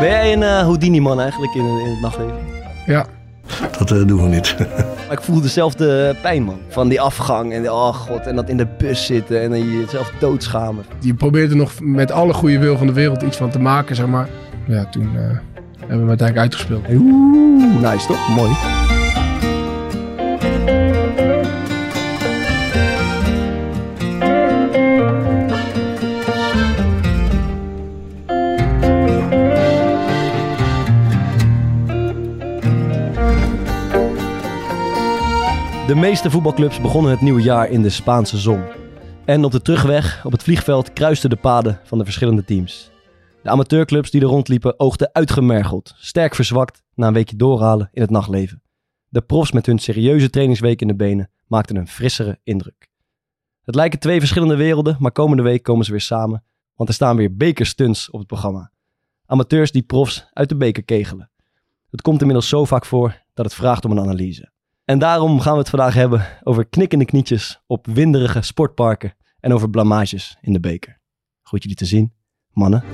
Ben jij een eh, Houdini-man eigenlijk in, in het nachtleven? Ja. Dat eh, doen we niet. Maar ik voel dezelfde pijn, man. Van die afgang en, oh god, en dat in de bus zitten en dan je jezelf doodschamen. Je probeert er nog met alle goede wil van de wereld iets van te maken, zeg maar. Ja, toen eh, hebben we hem uiteindelijk uitgespeeld. Oeh, nice toch? Mooi. De meeste voetbalclubs begonnen het nieuwe jaar in de Spaanse zon. En op de terugweg op het vliegveld kruisten de paden van de verschillende teams. De amateurclubs die er rondliepen oogden uitgemergeld, sterk verzwakt na een weekje doorhalen in het nachtleven. De profs met hun serieuze trainingsweek in de benen maakten een frissere indruk. Het lijken twee verschillende werelden, maar komende week komen ze weer samen, want er staan weer bekerstunts op het programma. Amateurs die profs uit de beker kegelen. Het komt inmiddels zo vaak voor dat het vraagt om een analyse. En daarom gaan we het vandaag hebben over knikkende knietjes op winderige sportparken en over blamages in de beker. Goed jullie te zien, mannen.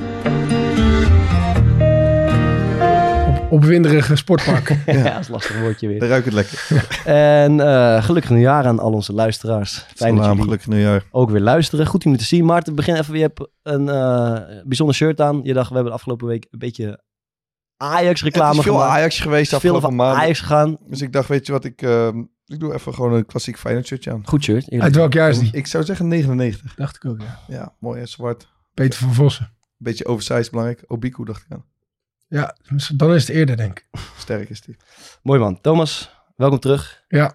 Op, op winderige sportparken. Ja, dat is een lastig woordje weer. Dan ruikt het lekker. En eh, gelukkig nieuwjaar aan al onze luisteraars. Fijn dat jullie Gelukkig nieuwjaar. ook weer luisteren. Goed om jullie te zien. Maarten, begin even. Je hebt een eh, bijzonder shirt aan. Je dacht, we hebben de afgelopen week een beetje Het Ajax-reclame is veel gemaakt. Ajax geweest Veel afgelopen over maand. Ajax gegaan. Dus ik dacht, weet je wat, ik, ehm, ik doe even gewoon een klassiek Feyenoord shirtje aan. Goed shirt. eerlijk. Uit welk jaar is die? Ik zou zeggen 99. Dacht ik ook, ja. Ja, mooi en zwart. Peter van Vossen. Beetje oversized belangrijk. Obiku dacht ik aan. Ja, Dus dan is het eerder, denk ik. Sterk is die. Mooi man. Thomas, welkom terug. Ja.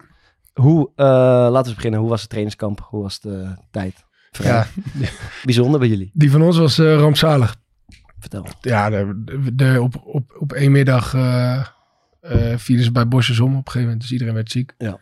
Hoe, eh, laten we beginnen. Hoe was het trainingskamp? Hoe was de tijd? Ja, Bijzonder bij jullie. die van ons was eh, rampzalig. Vertel. Ja, de, de- de- op, op, op één middag eh eh, vielen ze bij Bosjes om op een gegeven moment. Dus iedereen werd ziek. Ja.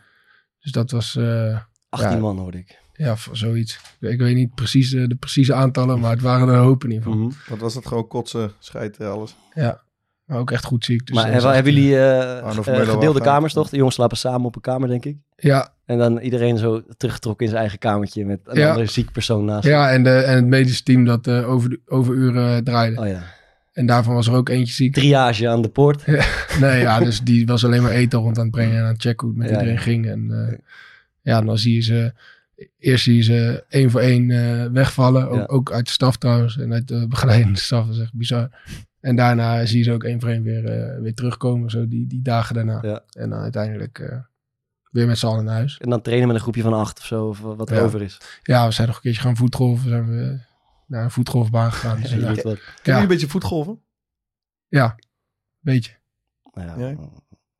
Dus dat was, eh, 18 Ja. man hoorde ik. ja, v- zoiets. Ik weet niet precies eh, de, de precieze aantallen, maar het waren er een hoop in ieder geval. Mhm. Wat was dat gewoon kotsen, scheiden, alles. Ja, maar ook echt goed ziek. Dus maar dat hebben, was echt, hebben jullie eh, Arno eh, van Meulen gedeelde wou gaan. kamers toch? De jongens slapen samen op een kamer, denk ik. eh, Ja, En dan iedereen zo teruggetrokken in zijn eigen kamertje met een Ja. andere ziek persoon naast. ja en, de, en het medische team dat eh over, de- overuren draaide. Oh ja. En daarvan was er ook eentje ziek. Triage aan de poort. Nee, ja, dus die was alleen maar eten rond aan het brengen en aan het checken hoe het met Ja, iedereen ging. En eh, ja, dan zie je ze, eerst zie je ze één voor één eh, wegvallen. Ook, Ja. ook uit de staf trouwens en uit de begeleidende staf. Dat is echt bizar. En daarna zie je ze ook één voor één weer, eh, weer terugkomen, zo die, die dagen daarna. Ja. En dan uiteindelijk eh, weer met z'n allen naar huis. En dan trainen met een groepje van acht of zo, of wat er Ja. over is. Ja, we zijn nog een keertje gaan voetgolven. Zijn we eh, naar een voetgolfbaan gegaan. Dus, Ja, je ja, doet wat. Kunnen jullie een beetje voetgolven? ja, beetje. Nou ja, Ja.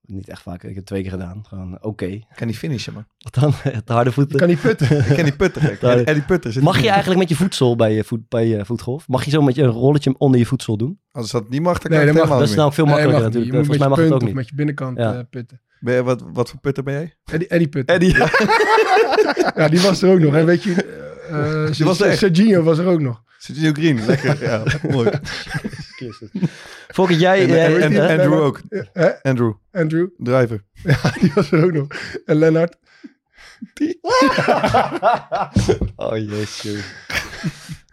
Niet echt vaak. Ik heb het twee keer gedaan. Gewoon oké. Ik kan die finishen, man. Wat dan? Het harde Ik voeten. kan die putten. ik ken die putten, gek. Daar- En die putten. zit- Mag je eigenlijk met je voedsel bij je, voet, bij je voetgolf? Mag je zo met je een rolletje onder je voedsel doen? Als dat niet mag, dan kan Nee, je het dat helemaal dat is niet meer. nou veel Nee, makkelijker mag niet. natuurlijk. Volgens mij Je mag moet met je het ook punt of niet. met je binnenkant Ja. eh, putten. Ben je- wat, wat voor putter ben jij? Eddie, Eddie putten. Eddie. Ja, die was er ook nog. En weet je, eh, eh, Die was er echt. Serginho was er ook nog. Sergio Green, lekker. Ja, mooi. Volgens jij... En, eh, en- eh, en- Andrew ook. Hè? Andrew, Andrew, driver. die was er ook nog. En Lennart. Oh jezus.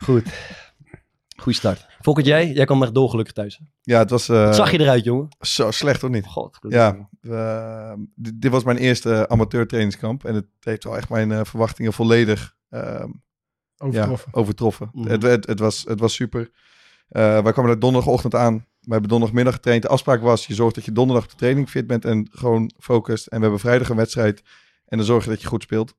Goed. Goeie start. Volgens jij? Jij kwam echt dolgelukkig thuis. hè? Ja, het was eh, Wat zag je eruit, jongen? zo slecht, of niet? God. Ja, eh, dit, dit was mijn eerste amateur trainingskamp. En het heeft wel echt mijn eh, verwachtingen volledig eh, Overtroffen. Ja, overtroffen. Mhm. Het, het, het was, het was super. Eh, wij kwamen er donderdagochtend aan. We hebben donderdagmiddag getraind. De afspraak was, je zorgt dat je donderdag op de training fit bent en gewoon focust. En we hebben vrijdag een wedstrijd. En dan zorg je dat je goed speelt.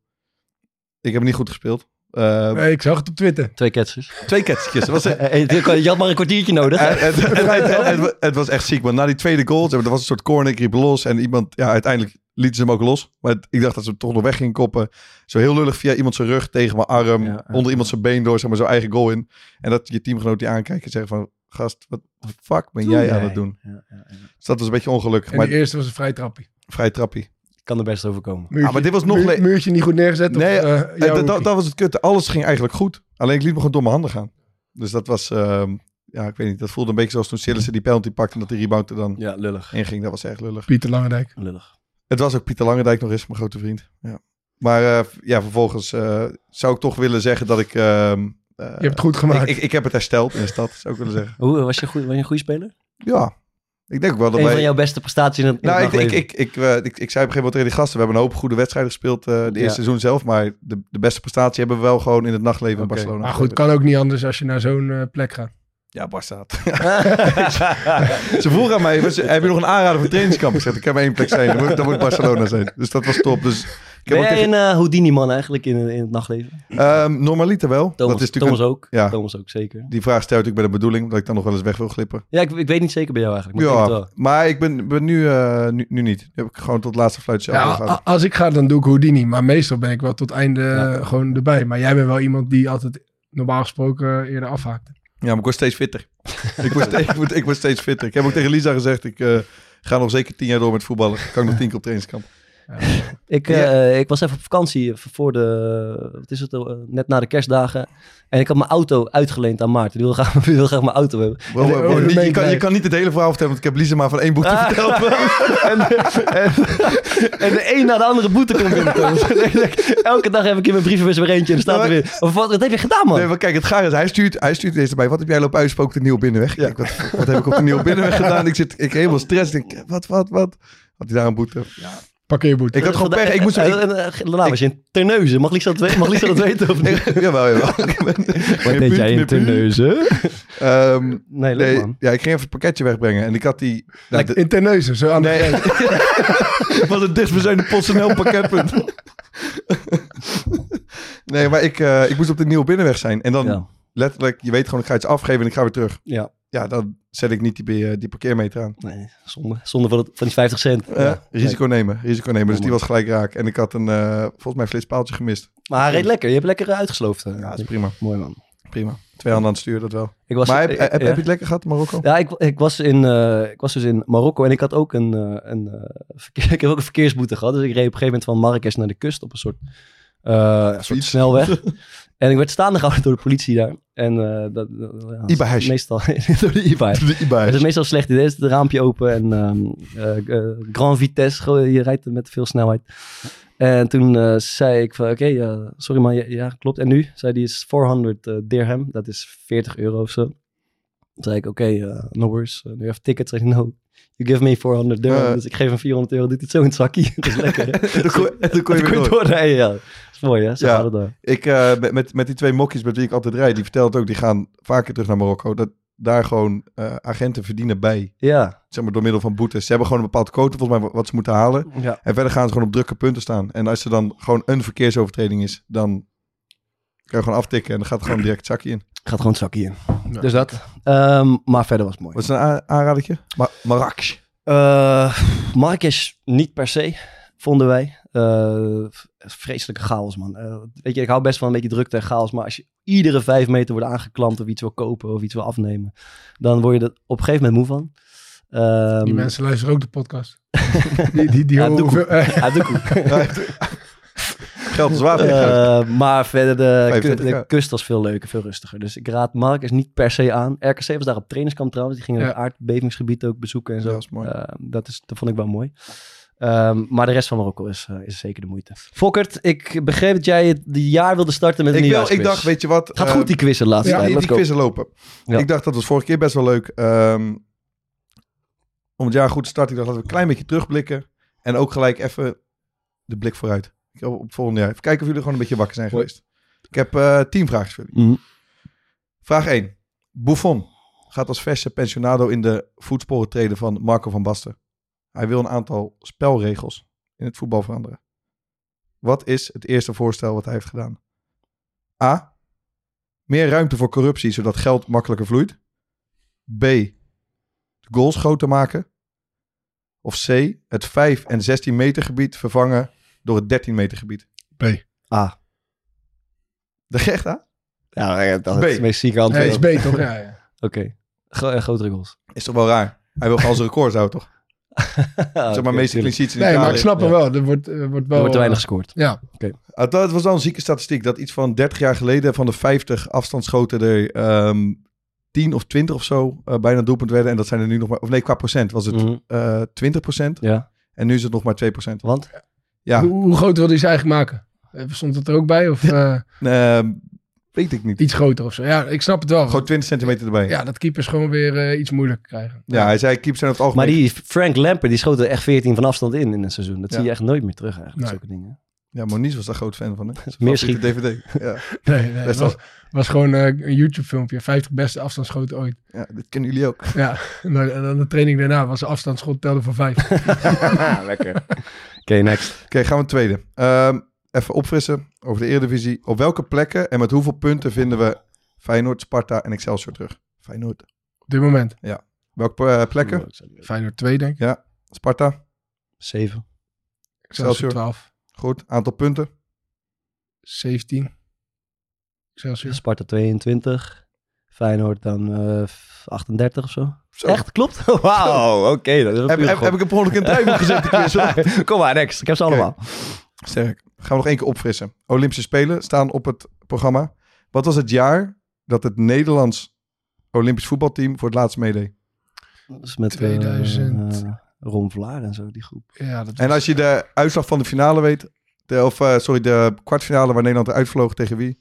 Ik heb niet goed gespeeld. Eh, Nee, ik zag het op Twitter. Twee ketsers. Twee ketsetjes. Dat was echt- Eh, eh, Je had maar een kwartiertje nodig. Eh, het, het, het- het- het- het was echt ziek, want na die tweede goal, zeg maar, er was een soort corner, ik riep los. En iemand, ja, uiteindelijk lieten ze hem ook los. Maar het- ik dacht dat ze hem toch nog weg gingen koppen. Zo heel lullig via iemand zijn rug tegen mijn arm, Ja, ja. onder iemand zijn been door, zeg maar, zijn eigen goal in. En dat je teamgenoot die aankijkt en zegt van, gast, wat de fuck ben jij aan het doen? Ja, ja, ja. Dus dat was een beetje ongelukkig, En maar de eerste was een vrij trappie. vrij trappie. Kan er best overkomen. Muurtje, Ah, maar dit was nog muur- le- muurtje niet goed neergezet. Nee, of, eh, jouw Eh, dat- dat, hoekie. dat was het kutte. Alles ging eigenlijk goed. Alleen ik liet me gewoon door mijn handen gaan. Dus dat was, ehm, ja, ik weet niet. Dat voelde een beetje zoals toen Sillissen die penalty pakte en dat die rebound er dan Ja, lullig. in ging. Dat was echt lullig. Pieter Langendijk. Lullig. Het was ook Pieter Langendijk nog eens, mijn grote vriend. Ja. Maar eh, ja, vervolgens eh, zou ik toch willen zeggen dat ik... ehm, eh, Je hebt het goed ik, gemaakt. ik, ik heb het hersteld in de stad, zou ik willen zeggen. Hoe, eh, was, je goed, was je een goede speler? Ja, ik denk ook wel dat Een wij... van jouw beste prestaties in het in Nou, het ik, ik, dagleven. ik, ik, eh, ik, ik zei op een gegeven moment tegen die gasten, we hebben een hoop goede wedstrijden gespeeld eh de eerste Ja. seizoen zelf, maar de, de beste prestatie hebben we wel gewoon in het nachtleven Oké. in Barcelona. maar goed, kan ook niet anders als je naar zo'n eh, plek gaat. Ja, Barca. Ze vroegen aan mij, was- heb je nog een aanrader voor trainingskamp? Ik zeg, ik heb maar één plek zijn, dat moet, dat moet Barcelona zijn. Dus dat was top. Dus ik heb Ben ook jij tegen, een eh, Houdini-man eigenlijk in, in het nachtleven? Ehm, normaliter wel. Thomas, dat is natuurlijk Thomas ook. ja. Thomas ook, zeker. een- die vraag stel ik natuurlijk bij de bedoeling, dat ik dan nog wel eens weg wil glippen. Ja, ik, ik weet niet zeker bij jou eigenlijk, maar ik denk ja, het maar ik ben, ben nu, eh, nu, nu niet. Nu heb ik gewoon tot het laatste fluitje Ja, ja, a- als ik ga, dan doe ik Houdini. Maar meestal ben ik wel tot einde Ja. eh, gewoon erbij. Maar jij bent wel iemand die altijd normaal gesproken eh, eerder afhaakt. Ja, maar ik word steeds fitter. ik, word, ste- ik, word, ik word steeds fitter. Ik heb ook tegen Lisa gezegd, ik eh, ga nog zeker tien jaar door met voetballen. Kan ik nog tien keer op trainingskamp. wel. Ik, eh, ik was even op vakantie voor de, wat is het, eh, net na de kerstdagen. En ik had mijn auto uitgeleend aan Maarten. Die wil graag, die wil graag mijn auto hebben. Wow, wow, wow. over de Je- meent Je, kan, je blijft. kan niet het hele verhaal vertellen, want ik heb Lisa maar van één boek te vertellen. en, en, en de een na de andere boete komt in. Elke dag heb ik in mijn brievenbus weer eentje en dan staat er weer. Of wat, wat heb je gedaan, man? Nee, maar kijk, het gaar is, hij stuurt, hij stuurt deze bij. Wat heb jij lopen uitspoken op de Nieuwe Binnenweg? Ik denk, wat, wat heb ik op de Nieuwe Binnenweg gedaan? Ik zit ik helemaal stress. Ik denk, wat, wat, wat? Had hij daar een boete? Parkeerboete. Ik had gewoon pech. Ik moest... Eh, Ik, eh, eh, Daarna was je in Terneuzen. Mag Lisa dat, we- mag Lisa dat weten of niet? ik, jawel, jawel. Wat Nee, leuk Ehm, Nee, man. ja, ik ging even het pakketje wegbrengen. En ik had die... nou, de- In Terneuzen, zo aan de Nee. grens. Wat het dichtstbijzijnde PostNL pakketpunt. nee, maar ik, eh, ik moest op de Nieuwe Binnenweg zijn. En dan Ja. letterlijk, je weet gewoon, ik ga iets afgeven en ik ga weer terug. Ja, Ja, dan zet ik niet die, be- eh, die parkeermeter aan. nee, zonde, zonde van, het, van die 50 cent. Eh, risico nemen, risico nemen. Dus die Jammer. was gelijk raak. En ik had een, eh, volgens mij, een flitspaaltje gemist. Maar hij reed lekker. Je hebt lekker eh, uitgesloofd. eh. Ja, dat is prima. Mooi man. Prima. Twee handen aan het stuur, dat wel. Ik was, maar heb, ik- heb, heb ja. je het lekker gehad, in Marokko? Ja, ik, ik, was in, eh, ik was dus in Marokko en ik had ook een, eh, een, eh, verkeer- ik heb ook een verkeersboete gehad. Dus ik reed op een gegeven moment van Marrakesh naar de kust op een soort, eh, een soort Fiets. snelweg. en ik werd staande gehouden door de politie daar. En eh, dat, dat- ja, dat is Ibahesh. Meestal door de IBA. De Het is Ibaers. meestal een slecht idee. Het is het raampje open en ehm, eh, eh, grand vitesse. Gewoon, Je rijdt met veel snelheid. En toen eh, zei ik van, oké, ja, sorry man, ja, ja, klopt. En nu? Zei die is 400 eh, dirham. Dat is 40 euro of zo. Toen zei ik, oké, eh no worries. Eh, nu have tickets. Zei hij, no, you give me 400 dirham. Eh. dus ik geef hem 400 euro. Doet hij het zo in het zakje. Dat is lekker. hè? En toen kon- en toen kon je Dan weer kon door. doorrijden, ja. Dat is mooi, hè? Zo Ja. gaat het daar. Ik, eh, met- met, met die twee mokkies met wie ik altijd rijd, die vertelt ook, die gaan vaker terug naar Marokko. Dat daar gewoon eh, agenten verdienen bij, Ja. zeg maar door middel van boetes. Ze hebben gewoon een bepaald quote, volgens mij, wat ze moeten halen. ja. En verder gaan ze gewoon op drukke punten staan. En als er dan gewoon een verkeersovertreding is, dan kan je gewoon aftikken en dan gaat het gewoon direct het zakje in. Gaat gewoon het zakje in. Ja. Dus dat. Ehm, maar verder was het mooi. Wat is een a- aanradertje? Ma Marrakesh. Eh Marrakesh niet per se, vonden wij. Eh, v- vreselijke chaos, man. Eh, weet je, ik hou best van een beetje drukte en chaos. Maar als je iedere vijf meter wordt aangeklampt of iets wil kopen of iets wil afnemen, dan word je er op een gegeven moment moe van. Ehm, Die mensen luisteren ook de podcast. die die, die Ja, horen doe hoeveel- eh, Ja, doe goed. Geld is water. Eh, maar verder, de, ku- 25K. de kust was veel leuker, veel rustiger. Dus ik raad Marrakesh niet per se aan. RKC was daar op trainingskamp trouwens. Die gingen Ja. het aardbevingsgebied ook bezoeken en zo. Dat was mooi. Eh, dat, is, dat vond ik wel mooi. Ehm, maar de rest van Marokko is, eh, is zeker de moeite. Fokkert, ik begreep dat jij het die jaar wilde starten met een ik, wil, nieuwjaarsquiz. ik dacht, weet je wat? Gaat eh, goed die quiz de laatste ja, tijd. die, Let's die go. quizzen lopen. Ja. Ik dacht, dat was vorige keer best wel leuk. Ehm, om het jaar goed te starten, ik dacht, laten we een klein beetje terugblikken. En ook gelijk even de blik vooruit. Ik hoop Op het volgende jaar. Even kijken of jullie gewoon een beetje wakker zijn Hoi. geweest. Ik heb eh tien vragen voor jullie. Mhm. Vraag 1. Buffon gaat als verse pensionado in de voetsporen treden van Marco van Basten. Hij wil een aantal spelregels in het voetbal veranderen. Wat is het eerste voorstel wat hij heeft gedaan? A. Meer ruimte voor corruptie, zodat geld makkelijker vloeit. B. De goals groter maken. Of C. Het 5 en 16 meter gebied vervangen door het 13 meter gebied. Ah, De gecht, A? ja, dat B. is het meest zieke antwoord. nee, is Oké, beter. Ja, ja. Gro- eh, grotere goals. Is toch wel raar? Hij wil gewoon zijn records houden, toch? Ah, Zeg maar, meeste clean sheets in Nee, maar ik Italië. snap hem wel. Er wordt, eh, wordt wel... Er wordt te weinig gescoord. Ja, Ah, Dat was wel een zieke statistiek. Dat iets van 30 jaar geleden van de 50 afstandsschoten er ehm, 10 of 20 of zo eh, bijna doelpunt werden. En dat zijn er nu nog maar... Of nee, qua procent was het Mhm. eh 20 Ja, En nu is het nog maar 2 want? Ja, eh, Hoe, hoe groot wilde hij ze eigenlijk maken? Eh, Stond dat er ook bij? Of eh, eh, weet ik niet. iets groter of zo? Ja, ik snap het wel. Gewoon 20 centimeter erbij. Ja, Ja, dat keepers gewoon weer eh, iets moeilijker krijgen. hij zei keeps zijn op het Maar algemeen... die Frank Lampert, die schoot er echt 14 van afstand in in een seizoen. Dat Ja. zie je echt nooit meer terug eigenlijk, Nee. zulke dingen. Ja, Moniz was daar groot fan van. Hè? Meer Favoriete DVD. Ja, Nee, nee het best was, wel. was gewoon eh, een YouTube-filmpje. 50 beste afstandsschoten ooit. Ja, dat kennen jullie ook. Ja, en dan- en dan de training daarna was de afstandsschot telde voor vijf. Lekker. Oké, next. Oké, gaan we een tweede. Ehm, even opfrissen over de Eredivisie. Op welke plekken en met hoeveel punten vinden we Feyenoord, Sparta en Excelsior terug? Feyenoord. Op dit moment. Welke eh, Oh, plekken? Feyenoord 2, denk ik. Sparta. 7. Excelsior Excelsior. 12. Goed. Aantal punten. 17. Excelsior. Sparta 22. Feyenoord dan eh, 38 of zo. Zo. Echt, klopt? Wauw, oké. dat is een Heb, puur heb, heb ik een ongeluk in tuin gezet? Ik wist het. Kom maar, next. Ik heb ze Oké. allemaal. Sterk. Gaan we nog één keer opfrissen. Olympische Spelen staan op het programma. Wat was het jaar dat het Nederlands Olympisch voetbalteam voor het laatst meedeed? Dat is met 2000. eh, Ron Vlaar en zo, die groep. Ja, dat En als je de uitslag van de finale weet... De, of eh, sorry, de kwartfinale waar Nederland uitvloog tegen wie?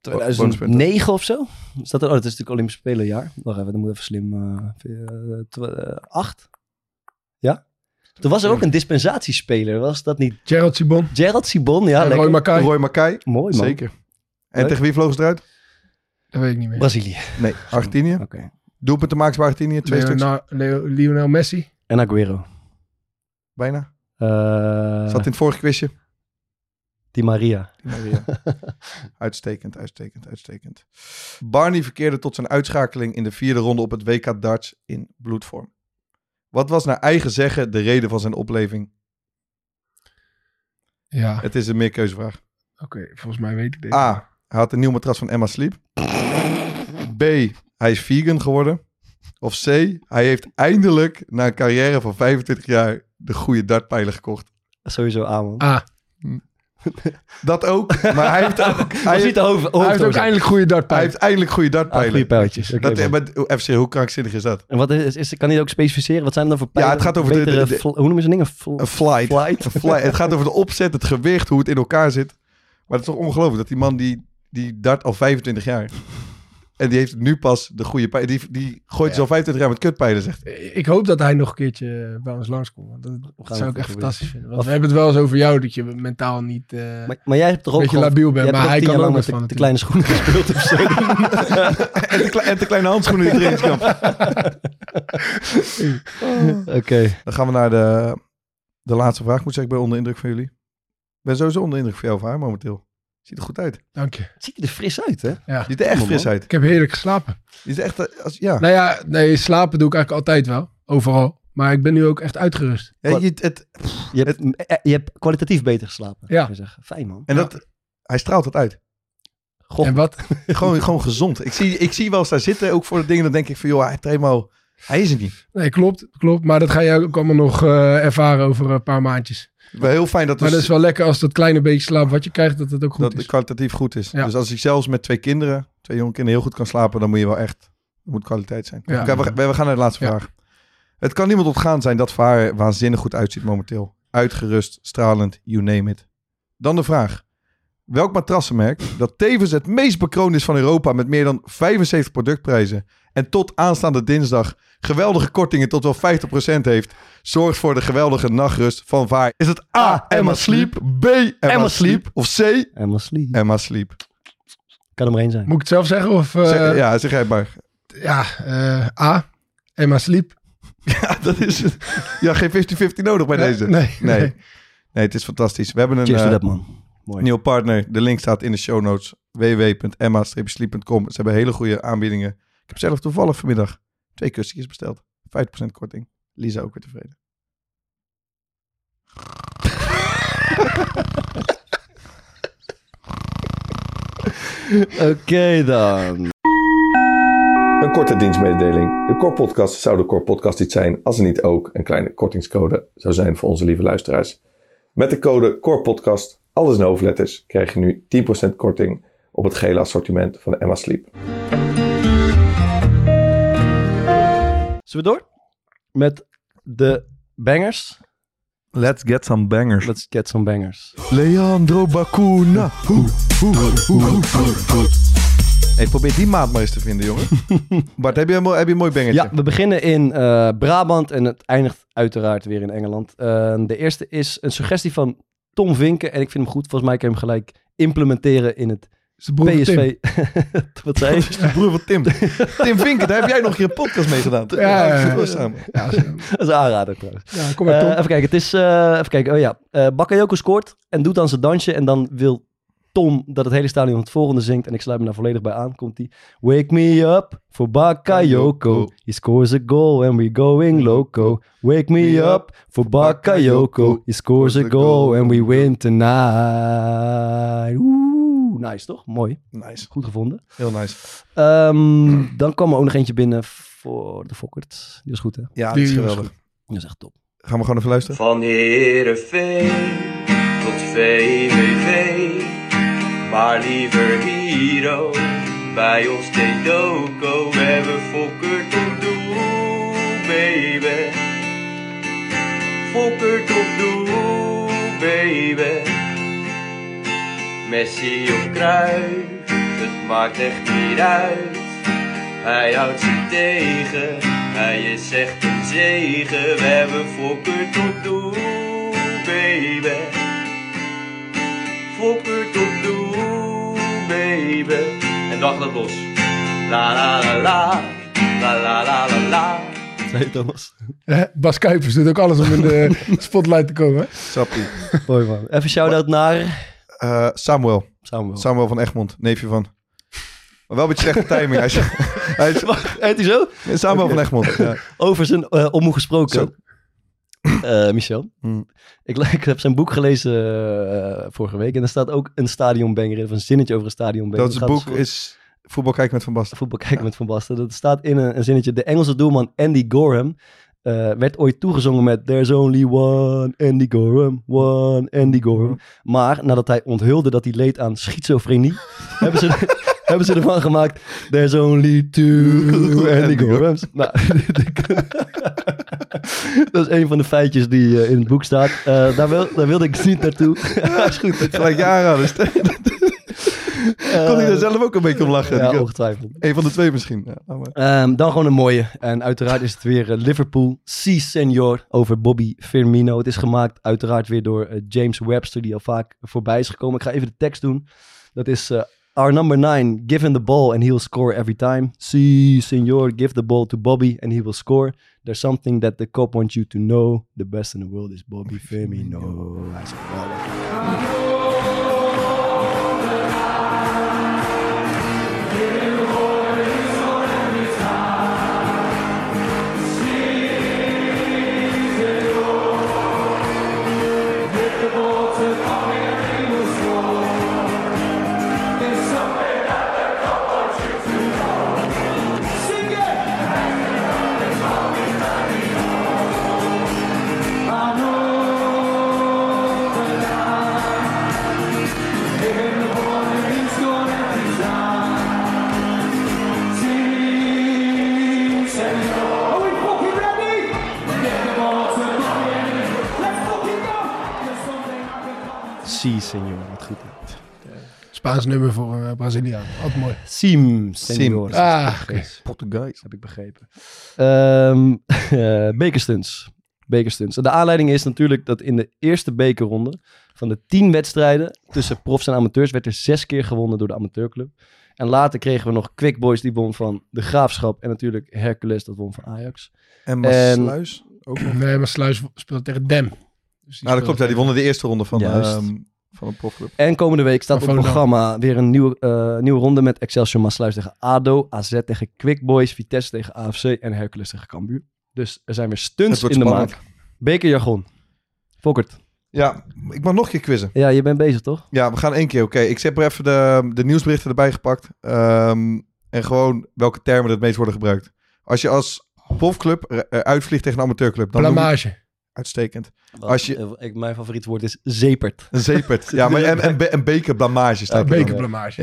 2009 of zo? Is dat, er- oh, dat is natuurlijk Olympisch Spelenjaar. Wacht even, dan moet ik even slim. eh, 8? ja? Toen was er ook een dispensatiespeler, was dat niet? Gerald Sibon. Gerald Sibon, ja, Ja, Roy lekker. Makai. Roy Makai. Mooi man. Zeker. En Leuk. tegen wie vlogen ze eruit? Dat weet ik niet meer. Brazilië. Nee, Argentinië. Oké. Doelpunten maken bij Argentinië. Twee stuks. Leona- Leo- Lionel Messi. En Aguero. Bijna. Eh, Zat in het vorige quizje. Di Maria. uitstekend, uitstekend, uitstekend. Barney verkeerde tot zijn uitschakeling in de vierde ronde op het WK darts in bloedvorm. Wat was naar eigen zeggen de reden van zijn opleving? Ja, oké. Het is een meerkeuzevraag. volgens mij weet ik dit. Ah, A. Hij had een nieuw matras van Emma Sleep. B. Hij is vegan geworden. Of C. Hij heeft eindelijk na een carrière van 25 jaar de goede dartpijlen gekocht. Sowieso aan, man. Ah, Dat ook, maar hij heeft ook... Hij, Was niet heeft, de hoofd, hij heeft ook hoofdoorzaak. eindelijk goede hij dartpijl. heeft eindelijk goede Ah, dartpijlen. goede pijltjes. Oké, dat, man. maar, oh, FC, hoe krankzinnig is dat? En wat is, is, kan hij ook specificeren? Wat zijn er dan voor Ja, pijlen? het gaat over de- Betere de- de- fl- hoe noemen ze dingen? Fl- Een flight. flight? Een fly- Het gaat over de opzet, het gewicht, hoe het in elkaar zit. Maar het is toch ongelooflijk dat die man die, die dart al 25 jaar. En die heeft nu pas de goede pijlen. Die, die gooit dus al 25 jaar met kutpijlen, zegt hij. Ik hoop dat hij nog een keertje eh, bij ons langskomt. Want dat, dat gaan zou het ik proberen. echt fantastisch vinden. Want Of- we hebben het wel eens over jou dat je mentaal niet... eh, Maar, maar jij hebt toch ook Beetje gewoon- labiel bent, jij hebt toch maar hij tien kan jaar ook lang met de, met van de het kleine schoenen gespeeld of zo. En de, kle- en de kleine handschoenen in de trainingskamp. Oké. Dan gaan we naar de, de laatste vraag. Moet zeggen, ik ben onder indruk van jullie. Ik ben sowieso onder indruk van jou of haar momenteel. Ziet er goed uit. Dank je. Ziet hij er fris uit, hè? Ja. Ziet er echt man. fris uit. Ik heb heerlijk geslapen. Ziet er echt... eh, Als, ja. Nou ja, nee, slapen doe ik eigenlijk altijd wel. Overal. Maar ik ben nu ook echt uitgerust. Ja, je- het, Je hebt, eh, je hebt kwalitatief beter geslapen. Ja. zou je zeggen. Fijn, man. en dat, hij straalt het uit. God, En wat? Gewoon, gewoon gezond. Ik zie, ik zie wel eens daar zitten, ook voor de dingen. Dan denk ik van, joh, hij, heeft helemaal, hij is het niet. Nee, klopt. Klopt. Maar dat ga je ook allemaal nog eh, ervaren over een paar maandjes. Wel heel fijn dat, Maar dus- dat is wel lekker als dat kleine beetje slaap wat je krijgt, dat het ook goed dat is. het kwalitatief goed is. Ja. Dus als ik zelfs met twee kinderen, twee jonge kinderen, heel goed kan slapen, dan moet je wel echt, moet kwaliteit zijn. Ja. Oké, we, we gaan naar de laatste Ja. vraag. Het kan niemand ontgaan zijn dat Vaar waanzinnig goed uitziet momenteel. Uitgerust, stralend, you name it. Dan de vraag. Welk matrassenmerk, dat tevens het meest bekroond is van Europa met meer dan 75 productprijzen en tot aanstaande dinsdag geweldige kortingen tot wel 50% heeft, zorgt voor de geweldige nachtrust van Vaar. Is het A, Emma Sleep, B, Emma Sleep of C, Emma Slee. Emma Sleep. Kan er maar één zijn. Moet ik het zelf zeggen? Of, eh, Zeg- ja, ja, zeg jij maar. eh, A. Emma Sleep. Ja, dat is het. Ja, geen 50-50 nodig bij deze. Nee. Eh, Nee. Nee. het is fantastisch. We hebben een Cheers eh, to that, man. Mooi. nieuwe partner. De link staat in de show notes. www.emma-sleep.com Ze hebben hele goede aanbiedingen. Ik heb zelf toevallig vanmiddag twee kussentjes besteld. 5% korting. Lisa ook weer tevreden. Oké, dan. Een korte dienstmededeling. De Core Podcast zou de Core Podcast niet zijn als er niet ook een kleine kortingscode zou zijn voor onze lieve luisteraars. Met de code Core Podcast, alles in hoofdletters, krijg je nu 10% korting op het gele assortiment van Emma Sleep. Zullen we door? Met de bangers. Let's get some bangers. Let's get some bangers. Leandro Bacuna. Hey, probeer die maat maar eens te vinden, jongen. Bart, heb je een mooi, heb je een mooi bengetje? Ja, we beginnen in eh, Brabant en het eindigt uiteraard weer in Engeland. Eh, de eerste is een suggestie van Tom Vinken. En ik vind hem goed. Volgens mij kan je hem gelijk implementeren in het Zijn broer van Tim. PSV. Wat zei Dat je? is de broer van Tim. Tim Vinken, daar heb jij nog een keer een podcast mee gedaan. Ja, ja, ja. Goed samen. Ja, zo. Dat is een aanrader trouwens. ja, kom maar, Eh, Tom. even kijken, het is... eh, even kijken, oh ja. eh Bakayoko scoort en doet dan zijn dansje. En dan wil Tom dat het hele stadion het volgende zingt. En ik sluit me daar volledig bij aan. Komt die. Wake me up for Bakayoko. He scores a goal and we going loco. Wake me up for Bakayoko. He scores a goal and we win tonight. Oeh, nice toch? Mooi. Nice, Goed gevonden. heel nice. Ehm, dan kwam er ook nog eentje binnen voor de Fokkert. Die was goed hè? Ja, dat is Die was geweldig. Dat is echt top. Gaan we gewoon even luisteren? Van Heerenveen tot VVV, maar liever Hero. Bij ons deed Doco, we hebben Fokker tot doel, baby. Fokker tot doel, baby. Messi of Kruijf, het maakt echt niet uit. Hij houdt ze tegen, hij is echt een zegen. We hebben Fokker tot doel, baby. Fokker tot doel, baby. En dag dat los. La la la la, la la la la la. Zei Thomas. Hè, Eh, Bas Kuipers doet ook alles om in de spotlight te komen. Sappie. Mooi man. Even shout-out naar Eh, Samuel. Samuel. Samuel van Egmond, neefje van. Maar wel een beetje slechte timing. Hij is, hij is- Wacht, heet hij zo? Samuel van Egmond. Ja. Over zijn eh ommoe gesproken. Zo. Eh, Michel. Hmm. Ik, ik heb zijn boek gelezen eh, vorige week. En daar staat ook een stadionbanger in. Of een zinnetje over een stadionbanger. Dat is het gaat boek voor- is Voetbal kijken met Van Basten. Voetbal kijken met Van Basten. Dat staat in een, een zinnetje. De Engelse doelman Andy Gorham eh, werd ooit toegezongen met... There's only one Andy Gorham, one Andy Gorham. Maar nadat hij onthulde dat hij leed aan schizofrenie... hebben, ze, hebben ze ervan gemaakt... There's only two Andy Gorhams. Nou, dat is een van de feitjes die eh, in het boek staat. Eh, daar, wil, daar wilde ik niet naartoe. Dat is goed. Gelijk jaren hadden. Kon hij daar zelf ook een beetje om lachen? Ja, Die- ongetwijfeld. Een van de twee misschien. Ja, laat maar. Ehm, dan gewoon een mooie. En uiteraard is het weer eh, Liverpool. Si, senor. Over Bobby Firmino. Het is gemaakt uiteraard weer door eh, James Webster, die al vaak voorbij is gekomen. Ik ga even de tekst doen. Dat is eh, Our number nine, give him the ball and he'll score every time. Si, senor, give the ball to Bobby and he will score. There's something that the cop wants you to know. The best in the world is Bobby Firmino. Hij is geweldig. Si, senor. Wat goed. hè. Spaans nummer voor een Braziliaan. Altijd mooi. Sim, senor. Ah, oké. Portugees. heb ik begrepen. Ehm, eh, bekerstunts. Bekerstunts. En De aanleiding is natuurlijk dat in de eerste bekerronde van de tien wedstrijden tussen profs en amateurs werd er zes keer gewonnen door de amateurclub. En later kregen we nog Quick Boys die won van de Graafschap en natuurlijk Hercules dat won van Ajax. En En- Maasluis. Nee, maar Sluis speelt tegen Dem. Dus Nou, dat klopt. Ja, die wonnen de eerste ronde van, Juist. ehm, van een profclub. En komende week staat op het Van Volendam. programma weer een nieuwe, eh, nieuwe ronde met Excelsior Maasluis tegen ADO, AZ tegen Quick Boys, Vitesse tegen AFC en Hercules tegen Cambuur. Dus er zijn weer stunts Het in wordt de spannend. maak. Bekerjargon. Fokkert. Ja, ik mag nog een keer quizzen. Ja, je bent bezig toch? Ja, we gaan één keer. Oké, ik heb er even de, de nieuwsberichten erbij gepakt. Ehm, en gewoon welke termen er het meest worden gebruikt. Als je als profclub er- eruit vliegt tegen een amateurclub, dan noem je- Blamage. Uitstekend. Wat, Als je- eh, ik, mijn favoriet woord is zepert. Een zeepert. ja, maar en, en, be- en bekerblamage staat er dan. Bekerblamage.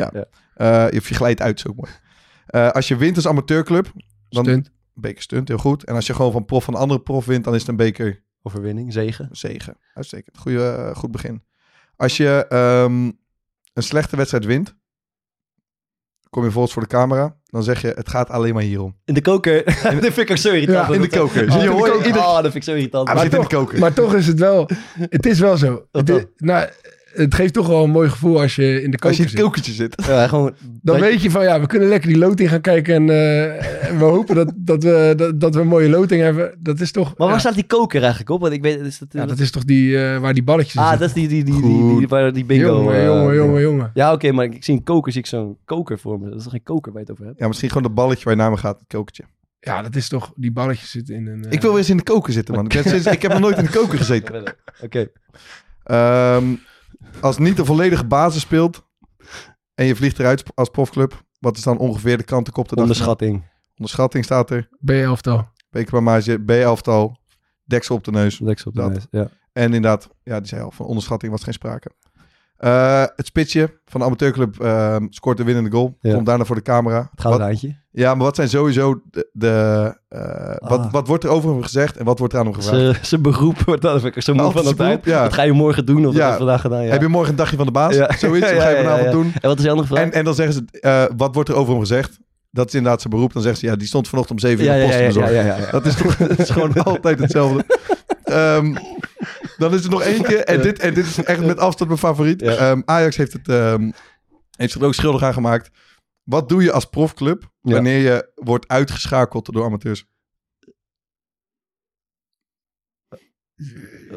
Ja. Eh, of je glijdt uit, is ook mooi. Eh, als je wint als amateurclub, dan, Stunt. beker stunt, heel goed. En als je gewoon van prof van een andere prof wint, dan is het een beker Overwinning, zegen. zegen. Uitstekend. Goeie, eh, goed begin. Als je ehm, een slechte wedstrijd wint, kom je volgens voor de camera, dan zeg je het gaat alleen maar hierom. In de koker. dat vind ik ook zo irritant. Ja, in de koker. Oh, Zie je, dat hoor vind je ik ook- ieder- oh, dat vind ik zo irritant. Ah, we Maar zitten in de koker. Maar toch is het wel... Het is wel zo. Het, dan? is- nou, het geeft toch wel een mooi gevoel als je in de als koker je in het zit. kokertje zit. Ja, eh, gewoon, Dan weet je van ja, we kunnen lekker die loting gaan kijken. En, eh, en we hopen dat, dat, we, dat, dat we een mooie loting hebben. Dat is toch... Maar waar ja, staat die koker eigenlijk op? Want ik weet... Is dat, ja, dat is toch die eh, waar die balletjes ah, in dat is die, die, die, die, die, Goed. waar die bingo... zitten. jongen, eh, jongen, jongen, jongen. Ja, oké, maar ik, ik zie een koker, zie ik zo'n koker voor me. Dat is toch geen koker waar je het over hebt? Ja, misschien gewoon dat balletje waar je naar me gaat, het kokertje. Ja, dat is toch... Die balletjes zitten in een... eh, Ik wil weer eens in de koker zitten, man. Ik, ben sinds- ik heb nog nooit in de koker gezeten. Oké. Ehm, als niet de volledige basis speelt en je vliegt eruit als profclub, wat is dan ongeveer de kant de dag? Onderschatting. Onderschatting staat er. B-elftal. Bekerplamage, B-elftal, deksel op de neus. Deksel op de Dat. neus, Ja. En inderdaad, ja, die zei al, van onderschatting was geen sprake. Eh, het spitsje van de amateurclub ehm, scoort de winnende goal. Ja. Komt daarna voor de camera. Het gaat Wat- een eindje. ja, maar wat zijn sowieso de... de, eh, wat, Ah. wat wordt er over hem gezegd en wat wordt er aan hem gevraagd? Ze, ze beroep, wordt dat vind ik zo moe Altijd van dat zijn beroep, tijd. ja. Wat ga je morgen doen of Ja. wat heb je vandaag gedaan? Ja. Heb je morgen een dagje van de baas? Ja. Zoiets, Ja, wat ga je ja, ja, vanavond ja. doen? En wat is je andere vraag? En, en dan zeggen ze, eh, wat wordt er over hem gezegd? Dat is inderdaad zijn beroep. Dan zeggen ze, ja, die stond vanochtend om zeven uur ja, in de ja, post ja, te ja, ja, bezorgen. ja, ja. Dat is, toch, dat is gewoon altijd hetzelfde. Ehm, dan is er nog eentje. En dit, en dit is echt met afstand mijn favoriet. Ja. Ehm, Ajax heeft, het, ehm, heeft zich er ook schuldig aan gemaakt. Wat doe je als profclub Ja. wanneer je wordt uitgeschakeld door amateurs?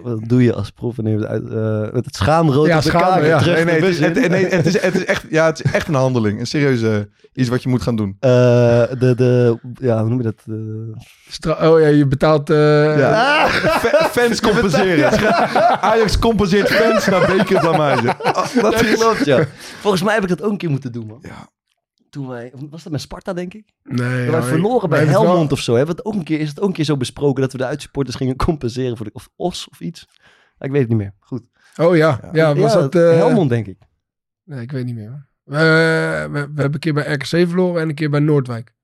Wat doe je als proef wanneer je uit, eh, met het schaamrood Ja, op de schaam, kamer ja. terug nee, nee, de het bus is, het, in? nee het, is, het, is echt, ja, het is echt een handeling. Een serieuze iets wat je moet gaan doen. Eh, de, de, ja, hoe noem je dat? Eh, Stra- oh ja, je betaalt... eh, Ja. Fa- Fans compenseren. Ajax compenseert fans naar bekerplamage. Oh, dat is... klopt, ja. Volgens mij heb ik dat ook een keer moeten doen, man. Ja. Toen wij, was dat met Sparta, denk ik? Nee, We wij ja, verloren bij wij hebben het Helmond of zo. Hebben we het ook een keer, is het ook een keer zo besproken dat we de uitsupporters gingen compenseren voor de, of Os of iets? Ja, ik weet het niet meer. Goed. wel- Oh ja, ja, was dat... eh, Helmond, denk ik. Nee, ik weet niet meer. hoor. Eh, we, we hebben een keer bij RKC verloren en een keer bij Noordwijk.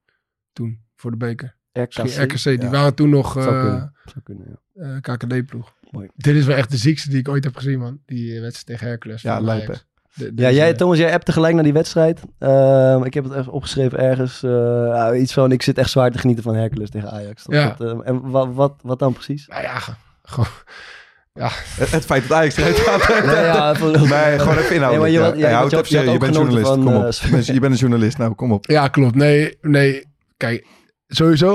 Toen, voor de beker. Misschien RKC, die ja. waren toen nog Zou eh kunnen. Zou kunnen, ja. KKD-ploeg. Mooi. Dit is wel echt de ziekste die ik ooit heb gezien, man. Die eh, wedstrijd tegen Hercules. Ja, van lijp, Ajax. De- dit Ja, is, jij, eh, Thomas, jij appte gelijk naar die wedstrijd. Ehm, ik heb het even opgeschreven ergens. eh, nou, iets van, ik zit echt zwaar te genieten van Hercules tegen Ajax. Dat- Ja. dat, eh, en wat, wat, wat dan precies? Nou ja, ge- gewoon... Het, het feit dat Ajax eruit gaat. Nee, Nou ja, voor- Nee, gewoon even Nee, maar inhouden. je Ja, had- ja, ja, want houd je had- je had het even serieus. Je ook bent genoten journalist. Kom van, op. eh, Je bent- Je bent een journalist. Nou, kom op. Ja, klopt. Nee, nee. Kijk, sowieso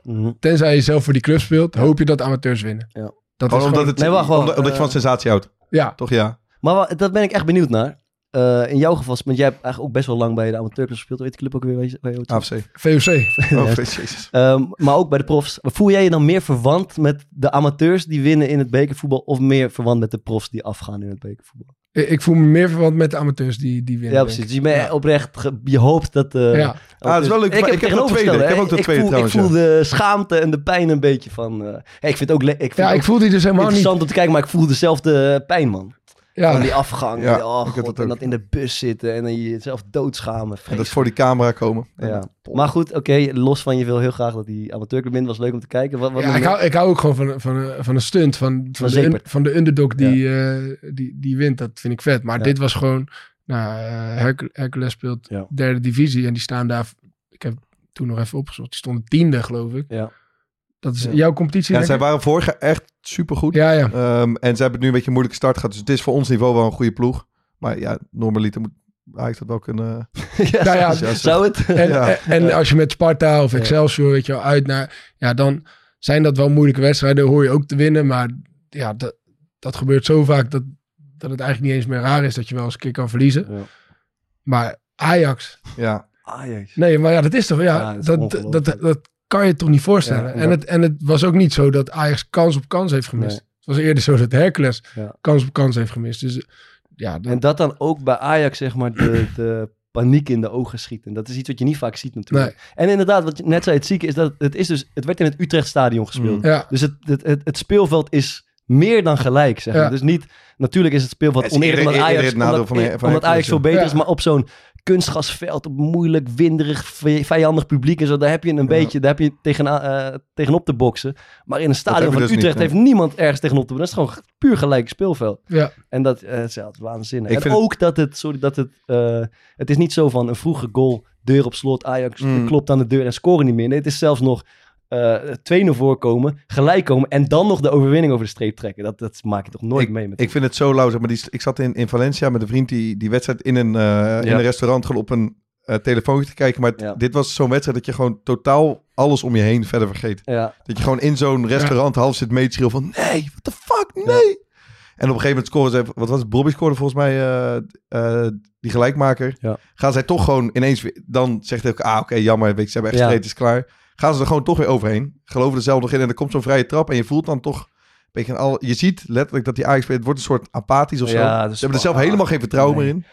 Mhm. tenzij je zelf voor die club speelt, hoop je dat amateurs winnen. Ja. Dat Gewoon is omdat, gewoon- het, Nee, wacht, wacht. omdat, omdat je van Eh, sensatie houdt. Ja, Toch ja. Maar wa- dat ben ik echt benieuwd naar. Eh, in jouw geval, want jij hebt eigenlijk ook best wel lang bij de amateurclub gespeeld. Weet de club ook weer waar je- waar je Ah. ooit zat? AFC. VOC. Oh, jezus. Ehm, maar ook bij de profs. Voel jij je dan meer verwant met de amateurs die winnen in het bekervoetbal... of meer verwant met de profs die afgaan in het bekervoetbal? Ik ik voel me meer verwant met de amateurs die, die Ja, winnen. denk precies. ik. Dus je bent Ja. oprecht... ge- je hoopt dat... eh, Ja. amateurs- Ah, dat is wel leuk. Ik heb dat tweede. tegenovergestelde, Ik heb hè. ook dat tweede voel, trouwens, Ik voel de schaamte en de pijn een beetje van... eh, hey, ik vind het ook, le- ik vind Ja, het ik ook voel die dus helemaal niet. Ah. interessant om te kijken... maar ik voel dezelfde pijn, man. Van Ja, die afgang. Ja, en, oh, ik heb God, dat en ook. dat in de bus zitten en dan je jezelf doodschamen. En dat Vreselijk. voor die camera komen. Ja. Maar goed, oké, los van je wil heel graag dat die amateurclub wint. Was leuk om te kijken. Wat, wat ja nog ik, meer? hou, ik hou ook gewoon van, van, van een stunt. Van, van, de, Zeepert. un- van de underdog die, eh, die, die wint. Dat vind ik vet. Maar Ja. dit was gewoon... Nou, eh, Hercu- Hercules speelt Ja. derde divisie. En die staan daar... Ik heb toen nog even opgezocht. Die stonden tiende, geloof ik. Ja. Dat is Ja. jouw competitie? Ja, denk zij ik? waren vorig jaar echt supergoed. ja, ja. Ehm, en ze hebben het nu een beetje een moeilijke start gehad. Dus het is voor ons niveau wel een goede ploeg. Maar ja, normaliter moet Ajax dat wel kunnen. eh, ja, Nou ja, zou- zou het? En, Ja. en en als je met Sparta of Ja. Excelsior, weet je wel, uit naar... Ja, dan zijn dat wel moeilijke wedstrijden. Hoor je ook te winnen. Maar ja, dat, dat gebeurt zo vaak dat, dat het eigenlijk niet eens meer raar is... dat je wel eens een keer kan verliezen. Ja. Maar Ajax... Ja. Ajax. Nee, maar ja, dat is toch... Ja, Ja, dat is dat, dat, ongelooflijk. dat, kan je toch niet voorstellen. Ja, en, het, en het was ook niet zo dat Ajax kans op kans heeft gemist. Nee. Het was eerder zo dat Hercules Ja. kans op kans heeft gemist. Dus eh, ja, dat- En dat dan ook bij Ajax, zeg maar, de, de paniek in de ogen schiet. En dat is iets wat je niet vaak ziet natuurlijk. En inderdaad, wat je net zei, het zieke is dat het, is dus, het werd in het Utrechtstadion Mm. gespeeld. ja. Dus het, het, het, het speelveld is meer dan gelijk, zeg maar. Ja. Dus niet, natuurlijk is het speelveld Het is oneerlijk eerder- omdat eerder Ajax, het nadeel omdat, van- van omdat Ajax Hercules, veel beter ja. is. Maar op zo'n kunstgasveld op moeilijk, winderig, vi- vijandig publiek en zo. Daar heb je een beetje daar heb je tegenaan, eh, tegenop te boksen. Maar in een stadion heb je van dus niet, Utrecht nee. heeft niemand ergens tegenop te boksen. Dat is gewoon puur gelijk speelveld. Ja. En dat eh, is altijd waanzinnig. Ik en vind het- ook dat het, sorry, dat het, eh, het is niet zo van een vroege goal, deur op slot, Ajax Mm. klopt aan de deur en scoren niet meer. Nee, het is zelfs nog eh 2-0 voorkomen, gelijk komen en dan nog de overwinning over de streep trekken. Dat, dat maak je toch nooit mee met Ik vind het zo lauw. Zeg maar die, ik zat in, in Valencia met een vriend die die wedstrijd in een, eh, in een restaurant gewoon op een eh, telefoontje te kijken. Maar t- Ja. dit was zo'n wedstrijd dat je gewoon totaal alles om je heen verder vergeet. ja. Dat je gewoon in zo'n restaurant half zit mee te schreeuwen van... Nee, what the fuck, nee! En op een gegeven moment scoren ze... Wat was het? Bobby scoorde volgens mij eh, eh, die gelijkmaker. Ja. Gaan zij toch gewoon ineens... weer- Dan zegt hij ook... Ah, oké, jammer. weet je, Ze hebben echt Ja. straight, is klaar. Gaan ze er gewoon toch weer overheen. Geloven er zelf nog in. En er komt zo'n vrije trap. En je voelt dan toch... een beetje een Al, je ziet letterlijk dat die Ajax... Het wordt een soort apathisch of zo. Ja, ze dus- hebben er zelf helemaal geen vertrouwen Nee. meer in.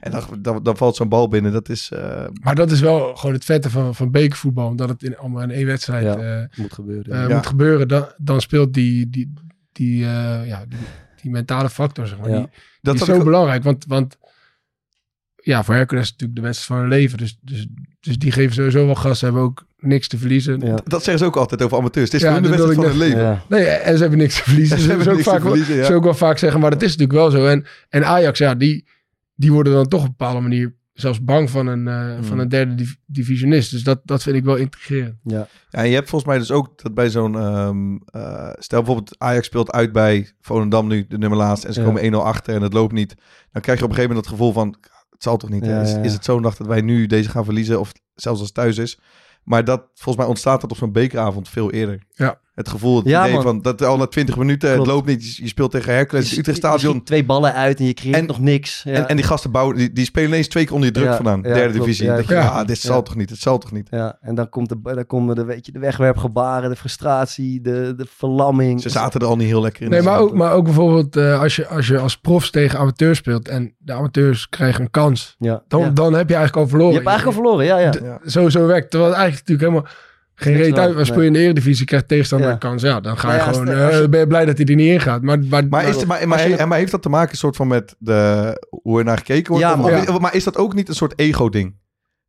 En dan, dan, dan valt zo'n bal binnen. Dat is... eh, Maar dat is wel gewoon het vette van, van bekervoetbal. Omdat het in, allemaal in één wedstrijd Ja. eh, moet gebeuren. eh, Ja. moet gebeuren. Dan, dan speelt die, die, die, eh, ja, die, die mentale factor, zeg maar. Ja. Die, dat die zat is zo ik- belangrijk, want, want ja, voor Hercules is het natuurlijk de wedstrijd van hun leven. Dus, dus, dus die geven sowieso wel gas. Ze hebben ook niks te verliezen. Ja. dat zeggen ze ook altijd over amateurs. Het is Ja, gewoon de dat wil wedstrijd van ik hun leven. Ja. Nee, eh, en ze hebben niks te verliezen. Ze Ze hebben hebben ook niks te vaak wel- verliezen, ja. ze ook wel vaak zeggen, maar dat is natuurlijk wel zo. En, en Ajax, ja, die, die worden dan toch op een bepaalde manier zelfs bang van een, eh, Mm. van een derde div- divisionist. Dus dat, dat vind ik wel intrigerend. Ja, en je hebt volgens mij dus ook dat bij zo'n... ehm, eh, stel bijvoorbeeld Ajax speelt uit bij Volendam nu, de nummer laatst. En ze Ja. komen 1-0 achter en het loopt niet. Dan krijg je op een gegeven moment het gevoel van... Het zal toch niet? hè? Ja, is, ja, ja. is het zo'n dag dat wij nu deze gaan verliezen? Of zelfs als het thuis is. Maar dat, volgens mij ontstaat dat op zo'n bekeravond veel eerder. Ja. Het gevoel, het Ja, idee man. van dat al na 20 minuten, Klopt. het loopt niet. Je, je speelt tegen Hercules, het Utrecht Je Stadion. schiet twee ballen uit en je creëert En- nog niks. Ja. En, en die gasten bouwen, die, die spelen ineens twee keer onder je druk Ja, vandaan. ja, derde klopt. divisie. Ja, dat je, ja. ah, dit zal Ja. toch niet? Het zal toch niet? ja, en dan, komt de, dan komen de, weet je, de wegwerpgebaren, de frustratie, de, de verlamming. Ze zaten er al niet heel lekker in. Nee, Dus maar dat- ook, maar ook bijvoorbeeld eh, als, je, als je als profs tegen amateurs speelt en de amateurs krijgen een kans, Ja. dan, Ja. dan heb je eigenlijk al verloren. Je hebt eigenlijk al verloren, ja, ja. verloren. Zo, zo werkt het. Terwijl het eigenlijk natuurlijk helemaal geen Niks reet wel, uit. Als nee. speel je in de Eredivisie, krijgt tegenstander Ja. een kans. Ja, dan ga Maar je ja, als gewoon, de- als je- eh, ben je blij dat hij er niet in gaat. Maar, maar, Maar, is, maar, maar, als je- en maar heeft dat te maken soort van met de, hoe er naar gekeken wordt? Ja, Of- man. of- maar is dat ook niet een soort ego-ding?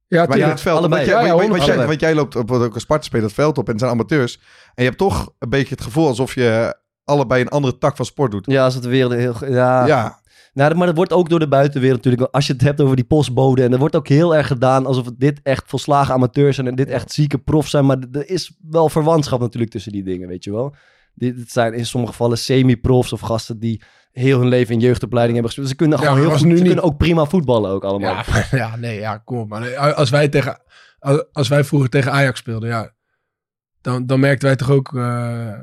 ja, Maar in tuurlijk. het veld, allebei. want jij, Ja, ja, want- want honderd. jij- Allebei. want jij loopt op ook een Sparta speler het veld op en het zijn amateurs. En je hebt toch een beetje het gevoel alsof je allebei een andere tak van sport doet. Ja, als het weer heel... ge- Ja. Ja, Nou, maar dat wordt ook door de buitenwereld natuurlijk... Als je het hebt over die postbode... en er wordt ook heel erg gedaan alsof het dit echt volslagen amateurs zijn... en dit echt zieke profs zijn. Maar d- er is wel verwantschap natuurlijk tussen die dingen, weet je wel. Dit dit zijn in sommige gevallen semi-profs of gasten die heel hun leven in jeugdopleiding hebben gespeeld. Ze kunnen Ja, gewoon maar heel als goed, nu ze niet- kunnen ook prima voetballen ook allemaal. Ja, maar- ja, nee, ja, kom op. Maar als wij, tegen, als wij vroeger tegen Ajax speelden, ja, dan, dan merkten wij toch ook eh,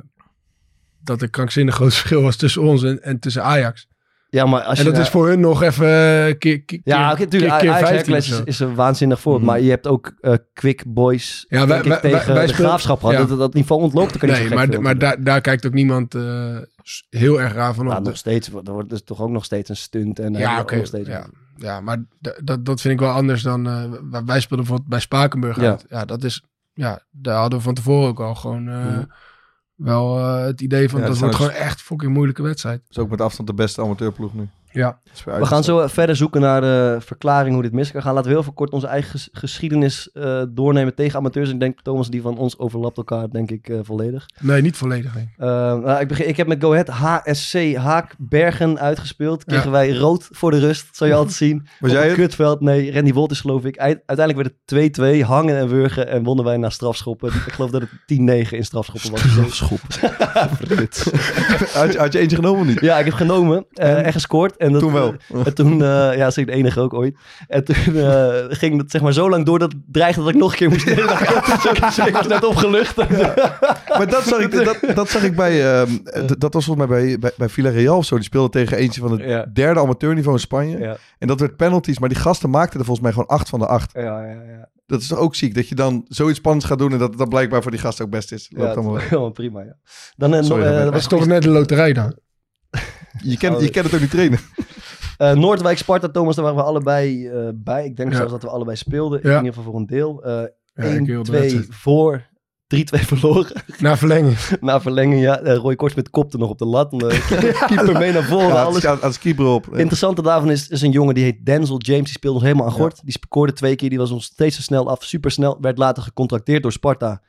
dat er krankzinnig groot verschil was tussen ons en, en tussen Ajax. Ja, maar als en je dat nou- is voor hun nog even eh, keer, keer, Ja, keer- oké, natuurlijk. keer, keer Ajax 15 Hercules of is, zo. Mm. is een waanzinnig voorbeeld. Maar je hebt ook eh Quick Boys Ja, wij- denk ik, wij- wij- tegen wij de speel- Graafschap gehad. ja. Dat, dat niveau ontloopt, dan kan je Nee, niet zo gek maar, veel maar doen. daar, daar kijkt ook niemand eh, s- heel erg raar van op. Ja, nog steeds, er wordt dus toch ook nog steeds een stunt. En Ja, eh, oké, nog steeds- ja. Ja, maar d- dat, dat vind ik wel anders dan... eh, w- wij speelden bijvoorbeeld bij Spakenburg Ja. uit. Ja, dat is... Ja, daar hadden we van tevoren ook al gewoon... eh, Ja. Wel eh, het idee van, Ja, dat het wordt zou- gewoon echt fucking moeilijke wedstrijd. dat is ook met afstand de beste amateurploeg nu. Ja. Dat is weer uit- We gaan zo eh, verder zoeken naar de verklaring hoe dit mis kan gaan. Laten we heel veel kort onze eigen ges- geschiedenis eh, doornemen tegen amateurs. Ik denk, Thomas, die van ons overlapt elkaar, denk ik, eh, volledig. Nee, niet volledig. Nee. Eh, nou, ik, begin, ik heb met Go Ahead HSC Haakbergen uitgespeeld. Kregen wij rood voor de rust, zou je altijd zien. Was Op jij een het? Kutveld, nee. Randy Wolters geloof ik. Eind- Uiteindelijk werd het 2-2, hangen en wurgen en wonnen wij na strafschoppen. ik geloof dat het 10-9 in strafschoppen was. Had je, had je eentje genomen of niet? Ja, ik heb genomen eh, en gescoord. En dat, Toen wel. En toen, eh, ja, zeker de enige ook ooit. En toen eh, ging het zeg maar zo lang door dat het dreigde dat ik nog een keer moest. ik was net opgelucht. Maar dat zag ik, dat, dat zag ik bij, ehm, eh, d- dat was volgens mij bij, bij, bij Villarreal of zo. Die speelde tegen eentje van het Ja. derde amateurniveau in Spanje. Ja. En dat werd penalties, maar die gasten maakten er volgens mij gewoon acht van de acht. Ja, ja, ja. Dat is toch ook ziek, dat je dan zoiets spannends gaat doen en dat dat blijkbaar voor die gasten ook best is. Loopt Ja, allemaal het- wel. oh, prima, ja. Dan, eh, Sorry, nog, eh, dat dat Dat is was toch net de loterij dan. je, kent, je kent het ook niet trainen. eh, Noordwijk, Sparta, Thomas, daar waren we allebei eh, bij. Ik denk Ja. zelfs dat we allebei speelden, Ja. in ieder geval voor een deel. Eh Ja, 1, ik wil de 2 wedstrijd. voor 3-2 verloren. Na verlenging. Na verlenging, ja, eh, Roy Korsmit kopte nog op de lat. En, eh, keeper- keeper mee naar voren, Ja, alles. alles aan skibro op. Het Interessante daarvan is, is een jongen die heet Denzel James. Die speelde ons helemaal aan gort. Die scoorde twee keer. Die was ons steeds zo snel af. Supersnel. Werd later gecontracteerd door Sparta.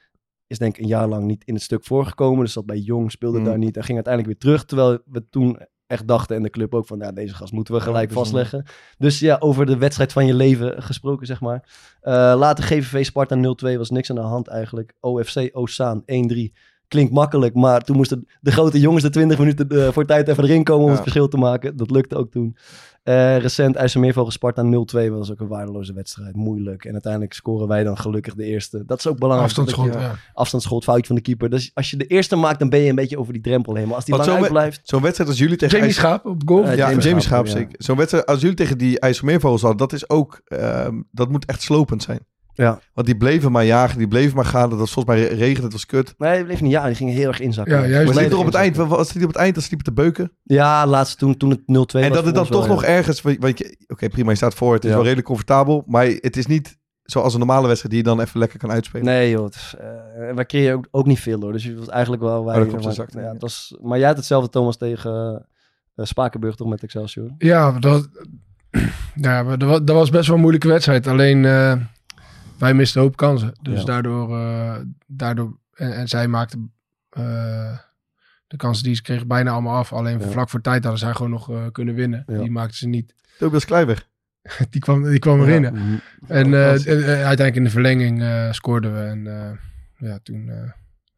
Is denk ik een jaar lang niet in het stuk voorgekomen. Dus zat bij Jong, speelde Mm. daar niet. En ging uiteindelijk weer terug. Terwijl we toen echt dachten en de club ook van... Ja, deze gast moeten we gelijk bijzonder. vastleggen. Dus ja, over de wedstrijd van je leven gesproken, zeg maar. Eh, later GVV Sparta 0-2 was niks aan de hand eigenlijk. OFC Ozaan 1-3. Klinkt makkelijk, maar toen moesten de grote jongens de 20 minuten eh, voor tijd even erin komen om Ja. het verschil te maken. Dat lukte ook toen. Eh recent IJsselmeervogel Sparta 0-2 was ook een waardeloze wedstrijd. Moeilijk. En uiteindelijk scoren wij dan gelukkig de eerste. Dat is ook belangrijk. Afstandsschot. Dat je- Ja. Afstandsschot, foutje van de keeper. Dus als je de eerste maakt, dan ben je een beetje over die drempel heen. Maar als die Want lang zo- uitblijft... Zo'n wedstrijd als jullie tegen Jamie IJs- Schaap op goal. Eh, Ja, Jamie Jamie, Schaap, Schaap, ja. zeker. Zo'n wedstrijd als jullie tegen die IJsselmeervogels hadden, dat is ook, ehm, dat moet echt slopend zijn. Ja. Want die bleven maar jagen, die bleven maar gaan. Dat was volgens mij re- regen, het was kut. Nee, die bleef niet. Ja, die ging heel erg inzakken. Ja, juist. Maar Volledig liep er op het eind, inzakken. wat was het niet op het eind, dat ze liepen te beuken. Ja, laatst toen, toen het 0-2 was. en dat voor het dan ons wel, toch ja. nog ergens, want want je, oké prima, je staat voor, het is Ja. wel redelijk comfortabel. Maar het is niet zoals een normale wedstrijd die je dan even lekker kan uitspelen. Nee joh, het is, eh, en wij creëren ook, ook niet veel hoor. Dus je was eigenlijk wel... Wij, Oh, dat klopt, maar, ze zakten, ja, ja. het was, maar jij had hetzelfde Thomas tegen eh, Spakenburg toch met Excelsior? Ja, dat, ja maar dat, wa- dat was best wel een moeilijke wedstrijd. Alleen eh, wij misten een hoop kansen. Dus Ja. daardoor, eh, daardoor en, en zij maakten eh, de kansen die ze kregen bijna allemaal af. Alleen Ja. vlak voor tijd hadden zij gewoon nog eh, kunnen winnen. Ja. Die maakten ze niet. Tobias Kleiber. Die kwam, die kwam erin. hè. Mhm. En eh, Fantastisch. en, eh, uiteindelijk in de verlenging eh, scoorden we. En eh, ja, toen eh, hebben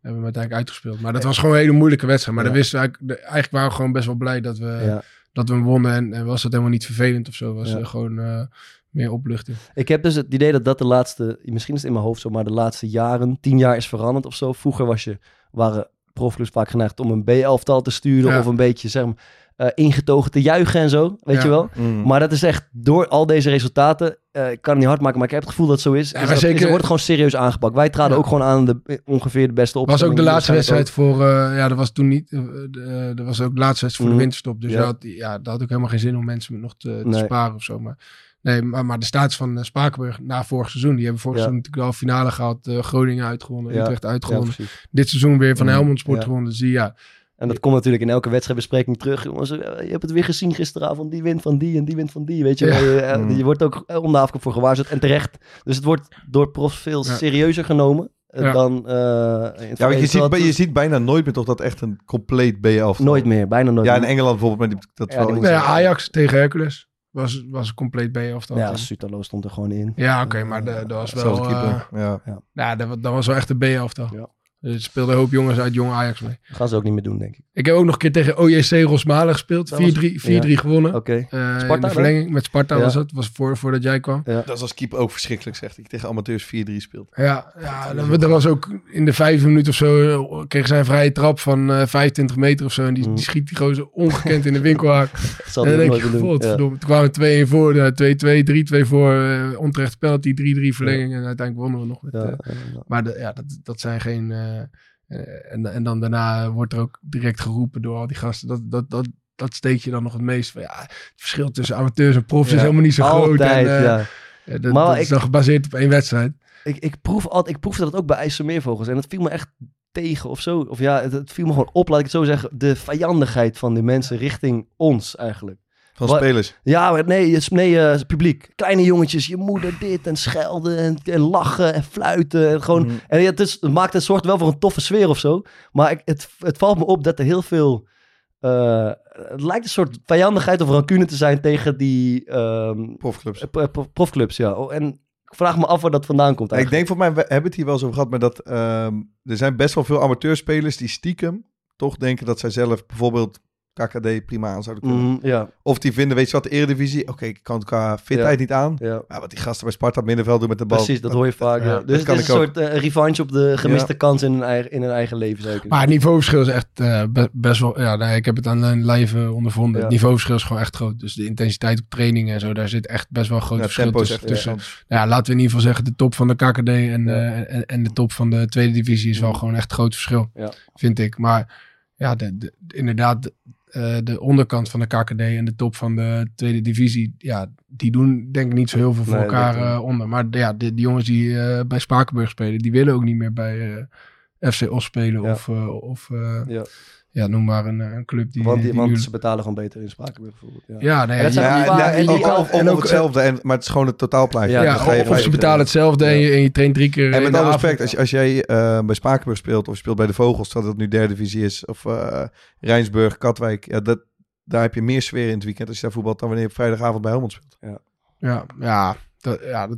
we hem uiteindelijk uitgespeeld. Maar dat was gewoon een hele moeilijke wedstrijd. Maar Ja. dan wisten we eigenlijk, de- eigenlijk waren we gewoon best wel blij dat we, Ja. dat we hem wonnen. En, en was dat helemaal niet vervelend of zo. Was Ja. eh, gewoon eh, meer opluchting. Ik heb dus het idee dat dat de laatste, misschien is het in mijn hoofd zo, maar de laatste jaren, tien jaar is veranderd of zo. Vroeger was je, waren profclubs vaak geneigd om een B-elftal te sturen Ja. of een beetje zeg maar, eh, ingetogen te juichen en zo, weet Ja. je wel. Mm. Maar dat is echt door al deze resultaten, eh, ik kan het niet hard maken, maar ik heb het gevoel dat het zo is. is Ja, maar dat- is- zeker- wordt gewoon serieus aangepakt. Wij traden Ja. ook gewoon aan de, eh, ongeveer de beste Het was opstelling. ook de laatste wedstrijd Waarschijnlijk voor... eh, ja, dat was toen niet... eh, de- eh, dat was ook de laatste wedstrijd voor Mhm. de winterstop. Dus Ja. ja. Dat, ja, dat had ook helemaal geen zin om mensen nog te, te Nee. sparen of zo. Maar, nee, maar, maar de status van eh, Spakenburg na vorig seizoen... Die hebben vorig Ja. seizoen natuurlijk de halve finale gehad. eh, Groningen uitgewonnen, Ja. Utrecht ook. Ja, uitgewonnen. precies. dit seizoen weer van Mm, Helmond Sport ja. gewonnen. Dus die, ja, En dat komt natuurlijk in elke wedstrijdbespreking terug. Jongens, eh, je hebt het weer gezien gisteravond. Die wint van die en die wint van die. Weet je, wel. Ja. je, eh, Mm. je wordt ook eh, om de afkoop voor gewaarschuwd. En terecht. Dus het wordt door profs veel Ja. serieuzer genomen eh, Ja. dan... eh, in het Ja, want verleden. je ziet, bij- Terwijl je het ziet bijna nooit meer toch dat echt een compleet B11. Nooit meer, bijna nooit Ja, in meer. Engeland bijvoorbeeld. Maar die, dat Oh, Ja, wel die iets- Nou ja, zeggen. Ajax tegen Hercules was, was een compleet B of dat. Ja, Sutalo stond er gewoon in. ja oké, maar de- dat was Zelfde wel. eh keeper. Ja. nou, dat, wa- dat was wel echt een B-elftal. Ja. Dus er speelden een hoop jongens uit jong Ajax mee. Dat gaan ze ook niet meer doen, denk ik. Ik heb ook nog een keer tegen OJC Rosmalen gespeeld. 4-3 Dat was- 4-3 gewonnen. Oké. Eh, Sparta, in de hè? verlenging met Sparta Ja. was dat. Was voor, voordat jij kwam. Dat is als keeper ook verschrikkelijk, zegt ik. Tegen amateurs 4-3 speelt. Ja, ja dat, dat was ook in de vijfde minuut of zo. eh, Kreeg zij een vrije trap van eh 25 meter of zo. En die, Mm. die schiet die gozer ongekend in de winkelhaak. Dat zal En hij dan ook nooit denk je, meer doen. Ja. godverdomme. Toen kwamen we 2-1 voor, eh, daarna 2-2, 3-2 voor, eh onterecht penalty, 3-3 verlenging. En uiteindelijk wonnen we nog met... Ja, eh, ja, ja. maar de- ja, dat, dat zijn geen... eh, eh, en, en dan daarna wordt er ook direct geroepen door al die gasten. Dat, dat, dat, dat steekt je dan nog het meest van. Ja, het verschil tussen amateurs en profs Ja, is helemaal niet zo groot. Altijd, en, eh, ja. ja, dat, Maar dat is ik- dan gebaseerd op één wedstrijd. Ik, ik, proef altijd, ik proefde dat ook bij IJsselmeervogels. En dat viel me echt tegen of zo. Of ja, het, het viel me gewoon op, laat ik het zo zeggen. De vijandigheid van de mensen richting ons eigenlijk. Van Wat- spelers. Ja, maar nee, het is- nee eh, het publiek. Kleine jongetjes, je moeder dit en schelden en, en lachen en fluiten. En gewoon, Mm. en ja, het, is, het maakt het zorgt wel voor een toffe sfeer of zo. Maar ik, het, het valt me op dat er heel veel... eh, het lijkt een soort vijandigheid of rancune te zijn tegen die ehm, Profclubs. eh, prof- profclubs. Ja. Oh, En ik vraag me af waar dat vandaan komt Ja, ik eigenlijk. denk voor mij, we hebben het hier wel eens over gehad, maar dat ehm, er zijn best wel veel amateurspelers die stiekem toch denken dat zij zelf bijvoorbeeld KKD prima aan zouden kunnen. Mhm, ja, Of die vinden, weet je wat, de eredivisie, oké, ik kan het qua fitheid niet aan. ja. Maar wat die gasten bij Sparta op middenveld doen met de bal. Precies, dat hoor je vaak. ja. ja, Dus het kan is ik een ook. soort eh, revenge op de gemiste kans in hun eigen, in hun eigen leven. Zou je kunnen Maar het niveauverschil is echt eh, be- best wel. Ja, nee, ik heb het aan mijn lijf eh, ondervonden. Ja. Het niveauverschil is gewoon echt groot. Dus de intensiteit op trainingen en zo, daar zit echt best wel een groot Ja, verschil tempo is tussen. echt tussen- Nou ja, laten we in ieder geval zeggen, de top van de KKD en, eh, en, en de top van de tweede divisie is wel gewoon echt een groot verschil. Ja. Vind ik. Maar ja, de, de- inderdaad, de, eh, de onderkant van de KKD en de top van de tweede divisie, ja, die doen denk ik niet zo heel veel voor Nee, dat elkaar denk ik eh, onder. Maar ja, de, die jongens die eh, bij Spakenburg spelen, die willen ook niet meer bij, eh, FC Os spelen Ja. of, eh, of eh, Ja. ja. noem maar een, eh, een club die... want die, die want nu- ze betalen gewoon beter in Spakenburg bijvoorbeeld. Ja. ja, nee, En dat ja, zijn Ja, die paar- ja, en en die ook, elf- ook, en ook- hetzelfde, en, maar het is gewoon het totaalplaatje. Ja, ja, Dan ga je of- of ze vijf- betalen hetzelfde en, je, en je traint drie keer En in met de alle avond. respect, als, je- als jij eh, bij Spakenburg speelt of je speelt bij de Vogels, dat het nu derde divisie is, of eh, Rijnsburg, Katwijk, ja, dat, daar heb je meer sfeer in het weekend als je daar voetbalt dan wanneer je op vrijdagavond bij Helmond speelt. Ja, ja, dat, ja, dat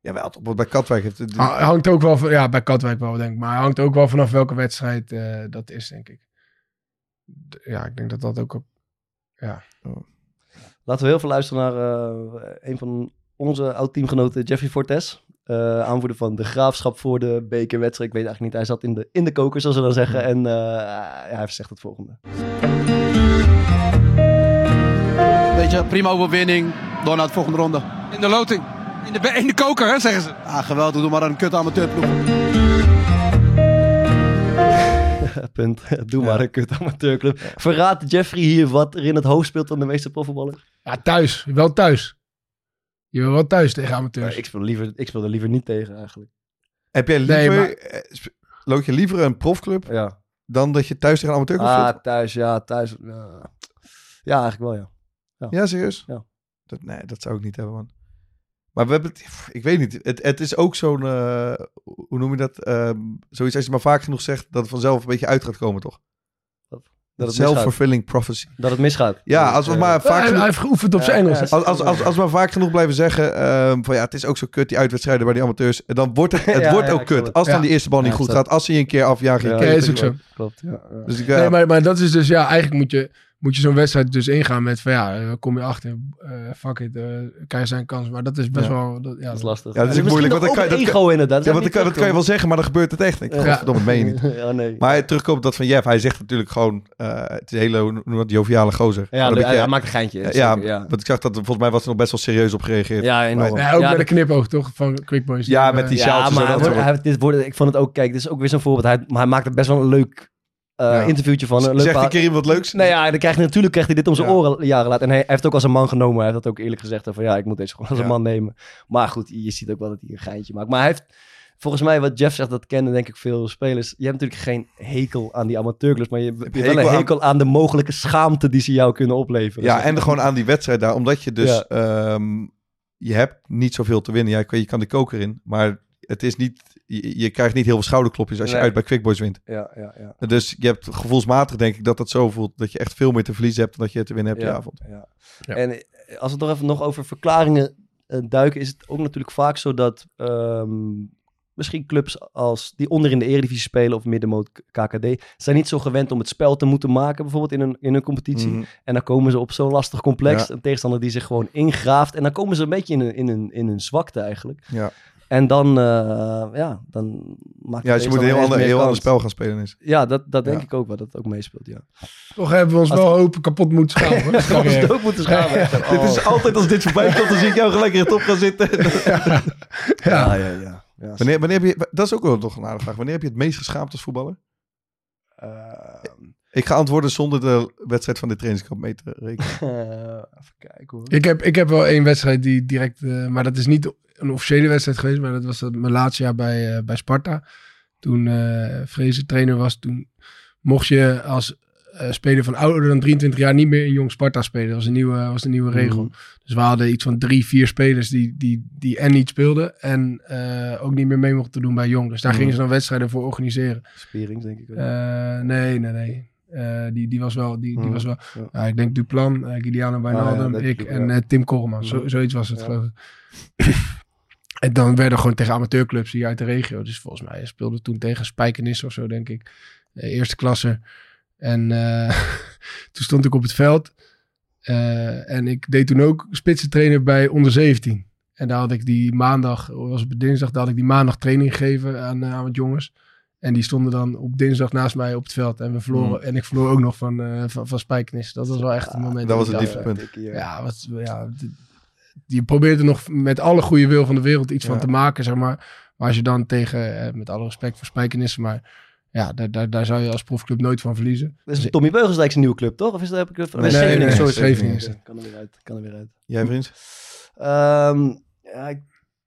Jawel, toch, want bij Katwijk heeft het. ha- hangt ook wel van, ja, bij Katwijk wel, denk ik. Maar hangt ook wel vanaf welke wedstrijd eh, dat is, denk ik. D- Ja, ik denk dat dat ook... op- Laten we heel veel luisteren naar eh, een van onze oud-teamgenoten, Jeffrey Fortes. Eh, aanvoerder van de Graafschap voor de bekerwedstrijd. Ik weet eigenlijk niet, hij zat in de, in de koker, zoals ze dan zeggen. En eh, ja, hij zegt het volgende. Weet je, prima overwinning. Door naar de volgende ronde. In de loting. In de, in de koker, hè, zeggen ze. Ah, geweldig. Doe maar een kut amateurploeg. Eh, Punt. Doe maar een kut amateurclub. Verraadt Jeffrey hier wat er in het hoofd speelt van de meeste profvoetballers? Ja, thuis. Wel thuis. Je wil wel thuis tegen amateurs. Dus- Maar Ik speel, liever, ik speel er liever niet tegen eigenlijk. heb jij Nee, liever. maar- eh, sp- Loop je liever een profclub Ja. dan dat je thuis tegen een amateurclub speelt? Ah, thuis, ja, thuis. Ja, ja eigenlijk wel, ja. Ja, serieus? Ja. Dat, nee, dat zou ik niet hebben, man. Maar we hebben het, pff, ik weet niet, het, het is ook zo'n, eh, hoe noem je dat? Ehm, zoiets als je maar vaak genoeg zegt, dat het vanzelf een beetje uit gaat komen, toch? Dat het misgaat. Self-fulfilling prophecy. Dat het misgaat. Ja, als we Eh, maar vaak hij, hij genoeg, heeft geoefend op zijn Ja, Engels. ja, als, als, als, als we maar vaak genoeg blijven zeggen ehm, van ja, het is ook zo kut, die uitwedstrijden bij die amateurs. Dan wordt het, het Ja, wordt ja, ook ik kut. snap het. Als dan Ja. die eerste bal niet Ja, goed dat- gaat, als ze je een keer afjagen. je Ja, keer- is ook zo. Klopt, ja. ja. Dus ik, Nee, ja, maar, maar dat is dus, ja, eigenlijk moet je, moet je zo'n wedstrijd dus ingaan met van ja, eh, kom je achter, eh fuck it, eh, krijg zijn kans. Maar dat is best Ja. wel, dat, ja, Dat is lastig. Ja, dat is En ook misschien moeilijk, want dan nog kan je- over dat ego inderdaad. ja, want dat kan, dat kan je wel zeggen, maar dan gebeurt het echt. Ik, Ja. Godverdomme, dat meen je niet. Ja, nee. Maar terugkomt dat van Jeff, hij zegt natuurlijk gewoon, eh, het is een hele hoe noem je dat, joviale gozer. ja, Maar de- een hij, beetje- hij maakt een geintje. ja, zeker, eh, ja, ja. want ik zag dat, volgens mij was er nog best wel serieus op gereageerd. Ja, Ja, enorm. Ja, ook Ja, met een knipoog toch, van Quick Boys. Ja, Eh, met die- Ja, sjaaltjes en maar hij dat wordt- soort. hij- dit wordt, ik vond het ook, kijk, dit is ook weer zo'n voorbeeld. Hij, maar hij maakt er best wel een leuk eh, Ja. interviewtje van. Een leuk Zegt verhaal. een keer iemand wat leuks? Nou ja, dan krijgt hij, natuurlijk krijgt hij dit om zijn Ja. oren jaren later. En hij, hij heeft ook als een man genomen. Hij heeft dat ook eerlijk gezegd. Van ja, ik moet deze gewoon als een Ja. man nemen. Maar goed, je ziet ook wel dat hij een geintje maakt. Maar hij heeft, volgens mij wat Jeff zegt, dat kennen denk ik veel spelers. Je hebt natuurlijk geen hekel aan die amateurclubs. Maar je, je hebt wel hekel een aan- hekel aan de mogelijke schaamte die ze jou kunnen opleveren. Ja, Zeg maar. en gewoon aan die wedstrijd daar. Omdat je dus... Ja. ehm, je hebt niet zoveel te winnen. Ja, je kan- je kan de koker in. Maar het is niet... Je, je krijgt niet heel veel schouderklopjes als je Nee. uit bij Quickboys wint. Ja, ja, ja. Dus je hebt gevoelsmatig denk ik dat dat zo voelt. Dat je echt veel meer te verliezen hebt dan dat je te winnen hebt die avond. Ja. Ja. En eh, als we het nog even nog over verklaringen eh, duiken, is het ook natuurlijk vaak zo dat ehm, misschien clubs als die onder in de eredivisie spelen of middenmoot K- KKD, zijn niet zo gewend om het spel te moeten maken, bijvoorbeeld in een, in een competitie. Mhm. En dan komen ze op zo'n lastig complex, Ja. een tegenstander die zich gewoon ingraaft. En dan komen ze een beetje in hun, in hun, in hun zwakte eigenlijk. Ja. En dan, eh, ja, dan maakt Ja, het dus je moet een heel ander, heel ander spel gaan spelen. Is. Ja, dat, dat denk Ja. ik ook wel, dat het ook meespeelt, ja. Toch hebben we ons Als- wel hopen kapot moeten schamen. Dat Dat kan was weer. het ook moeten schamen. Dit Oh. is altijd als dit voorbij komt, dan zie ik jou gelijk in het top gaan zitten. Ja, ja, ja. ja. Wanneer, wanneer heb je, dat is ook wel toch een aardige vraag. Wanneer heb je het meest geschaamd als voetballer? Ehm, Ik ga antwoorden zonder de wedstrijd van de trainingskamp mee te rekenen. Eh, even kijken hoor. Ik heb, ik heb wel één wedstrijd die direct, eh, maar dat is niet een officiële wedstrijd geweest, maar dat was dat mijn laatste jaar bij, eh, bij Sparta. Toen eh Vrezen trainer was, toen mocht je als eh, speler van ouder dan 23 jaar niet meer in jong Sparta spelen. Dat was een nieuwe, was een nieuwe regel. Dus we hadden iets van drie, vier spelers die, die, die en niet speelden en eh, ook niet meer mee mochten doen bij jong. Dus daar Mhm. gingen ze dan wedstrijden voor organiseren. Spierings denk ik. ook. Eh, nee, nee, nee. Eh, die, die was wel, die, die Mhm. was wel. Ja. Ah, Ja, ik denk Duplan, eh, Giuliano Wijnaldum, dat ik klopt, en ja. eh, Tim Korman. Zo, Mhm. zoiets was het, Ja. geloof ik. en dan werden gewoon tegen amateurclubs hier uit de regio. Dus volgens mij speelde toen tegen Spijkenis of zo, denk ik. Eh, eerste klasse. En eh, toen stond ik op het veld. Eh, en ik deed toen ook spitsentrainer bij onder 17. En daar had ik die maandag, of was het dinsdag, daar had ik die maandag training gegeven aan, eh, aan wat jongens. En die stonden dan op dinsdag naast mij op het veld. En, we verloren, Mm. en ik verloor ook nog van, eh van, van Spijkenis. Dat was wel echt een moment. dat was ik het dacht, diepste eh, punt. Tikkie, ja. ja, wat, ja, d- je probeert er nog met alle goede wil van de wereld iets van Ja. te maken, zeg maar. Maar als je dan tegen, eh, met alle respect voor spijkenissen, maar ja, daar, daar, daar zou je als profclub nooit van verliezen. Dat is Tommy Beugelsdijk zijn nieuwe club, toch? Of is dat heb ik Dus Nee, nee, nee, Scheveningen, nee, sorry, Scheveningen Eh, Scheveningen. Kan er weer uit. Kan er weer uit. Jij vriend? Ehm, ja, ik,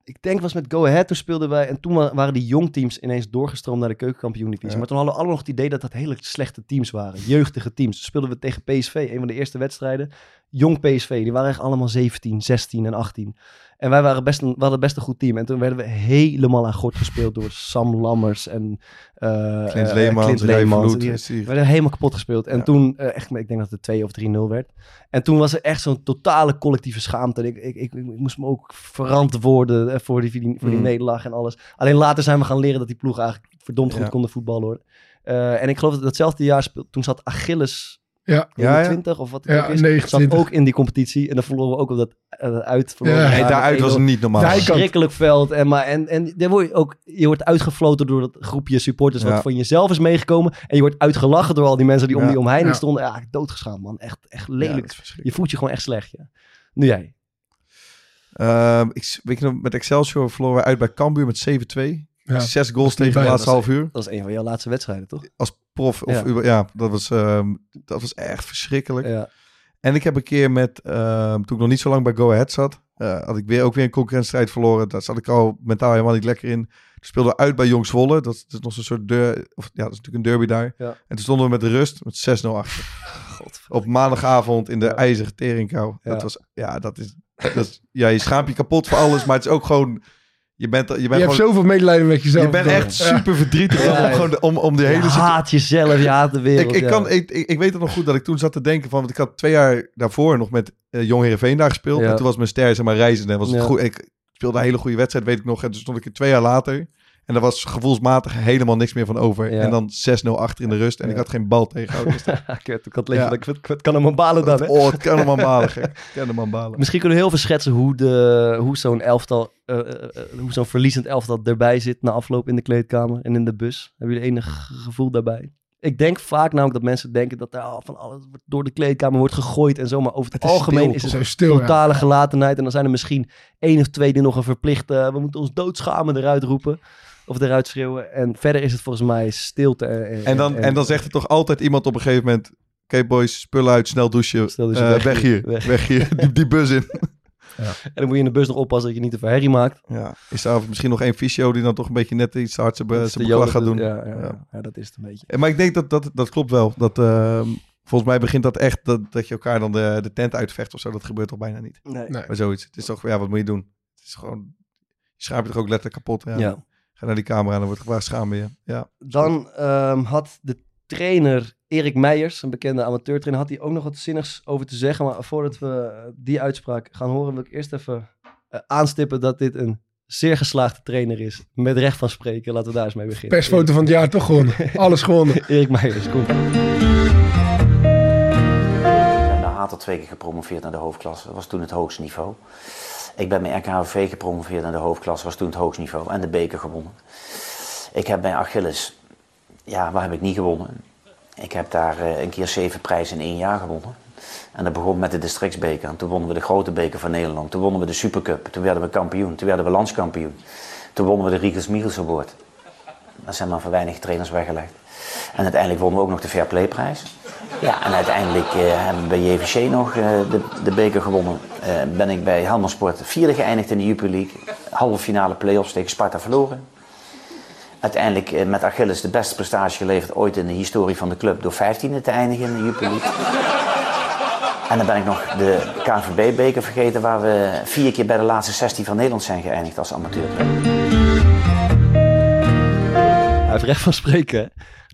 ik denk was met Go Ahead, toen speelden wij. En toen wa- waren die jong teams ineens doorgestroomd naar de keukenkampioen-divisie. Ja. Maar toen hadden we allemaal nog het idee dat dat hele slechte teams waren. Jeugdige teams. Toen speelden we tegen PSV, een van de eerste wedstrijden. Jong PSV, die waren echt allemaal 17, 16 en 18. En wij waren best een, we hadden best een goed team. En toen werden we helemaal aan gort gespeeld door Sam Lammers en eh Clint eh, Leemans, Clint Rijf Leemans. Vloed, Die- is die- we werden helemaal kapot gespeeld. En Ja. toen, eh, echt, ik denk dat het 2 of 3-0 werd. En toen was er echt zo'n totale collectieve schaamte. En ik, ik, ik, ik moest me ook verantwoorden eh, voor die, voor die, voor die Mm. nederlaag en alles. Alleen later zijn we gaan leren dat die ploeg eigenlijk verdomd goed Ja. konden voetballen hoor. Eh, en ik geloof dat datzelfde jaar speel- toen zat Achilles Ja. Ja, ja. 20 of wat het Ja, ook is. 29. Zat ook in die competitie. En dan verloren we ook op dat eh, uit. verloren Ja. we Nee, daar daaruit met was 1-0 het niet normaal. Ja, ik- verschrikkelijk veld. En, maar, en, en daar word je, ook, je wordt uitgefloten door dat groepje supporters Ja. wat van jezelf is meegekomen. En je wordt uitgelachen door al die mensen die om Ja. die omheining Ja. stonden. Ja, doodgeschaamd man. Echt, echt Ja, dat lelijk. is verschrikkelijk. je voelt je gewoon echt slecht. Ja. Nu jij. Ehm, ik, s- weet je nog, met Excelsior verloren we uit bij Cambuur met 7-2. Ja. Zes goals tegen bij, de laatste dat half uur. Dat is een van jouw laatste wedstrijden, toch? Als prof. Of Ja. ja. ja, dat was, ehm, dat was echt verschrikkelijk. Ja. En ik heb een keer met, ehm, toen ik nog niet zo lang bij Go Ahead zat, eh, had ik weer, ook weer een concurrentiestrijd verloren. Daar zat ik al mentaal helemaal niet lekker in. Toen speelden we uit bij Jong Zwolle. Dat, is- dat is nog zo'n soort der, of, ja, dat is natuurlijk een derby daar. Ja. En toen stonden we met de rust met 6-0 achter. Op maandagavond in de Ja. ijzige teringkou. Ja. Dat was, ja, dat is, dat is, ja, je schaamt je kapot voor alles, maar het is ook gewoon, je bent, je Je bent hebt gewoon, zoveel medelijden met jezelf. je bent echt super verdrietig Ja, om- om, ja. gewoon de- om, om die Je hele situatie. haat jezelf, je haat de wereld. Ik, ik, ja. kan, ik, ik, ik weet het nog goed dat ik toen zat te denken van... Want ik had twee jaar daarvoor nog met eh, Jong Heerenveen daar gespeeld. Ja. En toen was mijn ster zeg maar reizende. En was het Ja. goed, ik speelde een hele goede wedstrijd, weet ik nog. En toen stond ik er twee jaar later. En daar was gevoelsmatig helemaal niks meer van over. Ja. En dan 6-0 achter in de rust. En Ja. ik had geen bal tegenhouden. Dus ik weet- ik had het leven Ja. dat ik het- het kan hem aan balen dan. dat, hè? oh, het kan allemaal balen, gek. Het kan allemaal balen. Misschien kunnen we heel veel schetsen hoe, de, hoe zo'n elftal, eh, eh, eh, hoe zo'n verliezend elftal erbij zit na afloop in de kleedkamer en in de bus. Hebben jullie enig gevoel daarbij? Ik denk vaak namelijk dat mensen denken dat daar al van alles wordt- door de kleedkamer wordt gegooid en zo. Maar over het, Het is algemeen stil, is het zo stil. Ja. totale gelatenheid. En dan zijn er misschien één of twee die nog een verplichte, eh, we moeten ons doodschamen eruit roepen. Of eruit schreeuwen. En verder is het volgens mij stilte. En, en- En dan, en dan zegt er toch altijd iemand op een gegeven moment... Oké boys, spullen uit, snel douchen. Snel douchen, Eh, weg weg, hier, hier, weg. weg, hier. Die, die bus in. en dan moet je in de bus nog oppassen dat je niet te veel herrie maakt. Ja. Is daar misschien nog één fysio die dan toch een beetje net iets te hard zijn, be- Dat is zijn de beklag Jonathan- gaat doen? Ja, ja, ja. Ja. Ja, dat is het een beetje. Eh, Maar ik denk dat dat, dat klopt wel. Dat, ehm, volgens mij begint dat echt dat, dat je elkaar dan de, de tent uitvecht of zo. Dat gebeurt toch bijna niet. Nee. Maar zoiets. Het is toch, ja, wat moet je doen? Het is gewoon, je schaamt je toch ook letterlijk kapot. Ja. ja. Ga naar die camera en dan wordt gevraagd, schaam je je? Ja. Dan ehm, had de trainer Erik Meijers, een bekende amateurtrainer, had hij ook nog wat zinnigs over te zeggen. Maar voordat we eh, die uitspraak gaan horen, wil ik eerst even eh, aanstippen dat dit een zeer geslaagde trainer is. Met recht van spreken, laten we daar eens mee beginnen. Persfoto van het jaar toch gewonnen. Alles gewonnen. Erik, Erik Meijers, kom. ben naar Hatel twee keer gepromoveerd naar de hoofdklasse. Dat was toen het hoogste niveau. Ik ben bij RKHV gepromoveerd naar de hoofdklasse. was toen het hoogste niveau. En de beker gewonnen. Ik heb bij Achilles... Ja, waar heb ik niet gewonnen? Ik heb daar eh, een keer zeven prijzen in één jaar gewonnen. En dat begon met de districtsbeker. En toen wonnen we de grote beker van Nederland. Toen wonnen we de Supercup. Toen werden we kampioen. Toen werden we landskampioen. Toen wonnen we de Riegels Michels Award. Er zijn maar voor weinig trainers weggelegd. En uiteindelijk wonnen we ook nog de Fair Play prijs. Ja, en uiteindelijk eh, hebben we bij JVC nog eh, de, de beker gewonnen. Eh, ben ik bij Helmersport vierde geëindigd in de Jupiler League. Halve finale play-offs tegen Sparta verloren. Uiteindelijk eh, met Achilles de beste prestatie geleverd ooit in de historie van de club. Door 15e te eindigen in de Jupiler League. En dan ben ik nog de KNVB-beker vergeten waar we vier keer bij de laatste 16 van Nederland zijn geëindigd als amateurclub. Hij heeft recht van spreken. hè?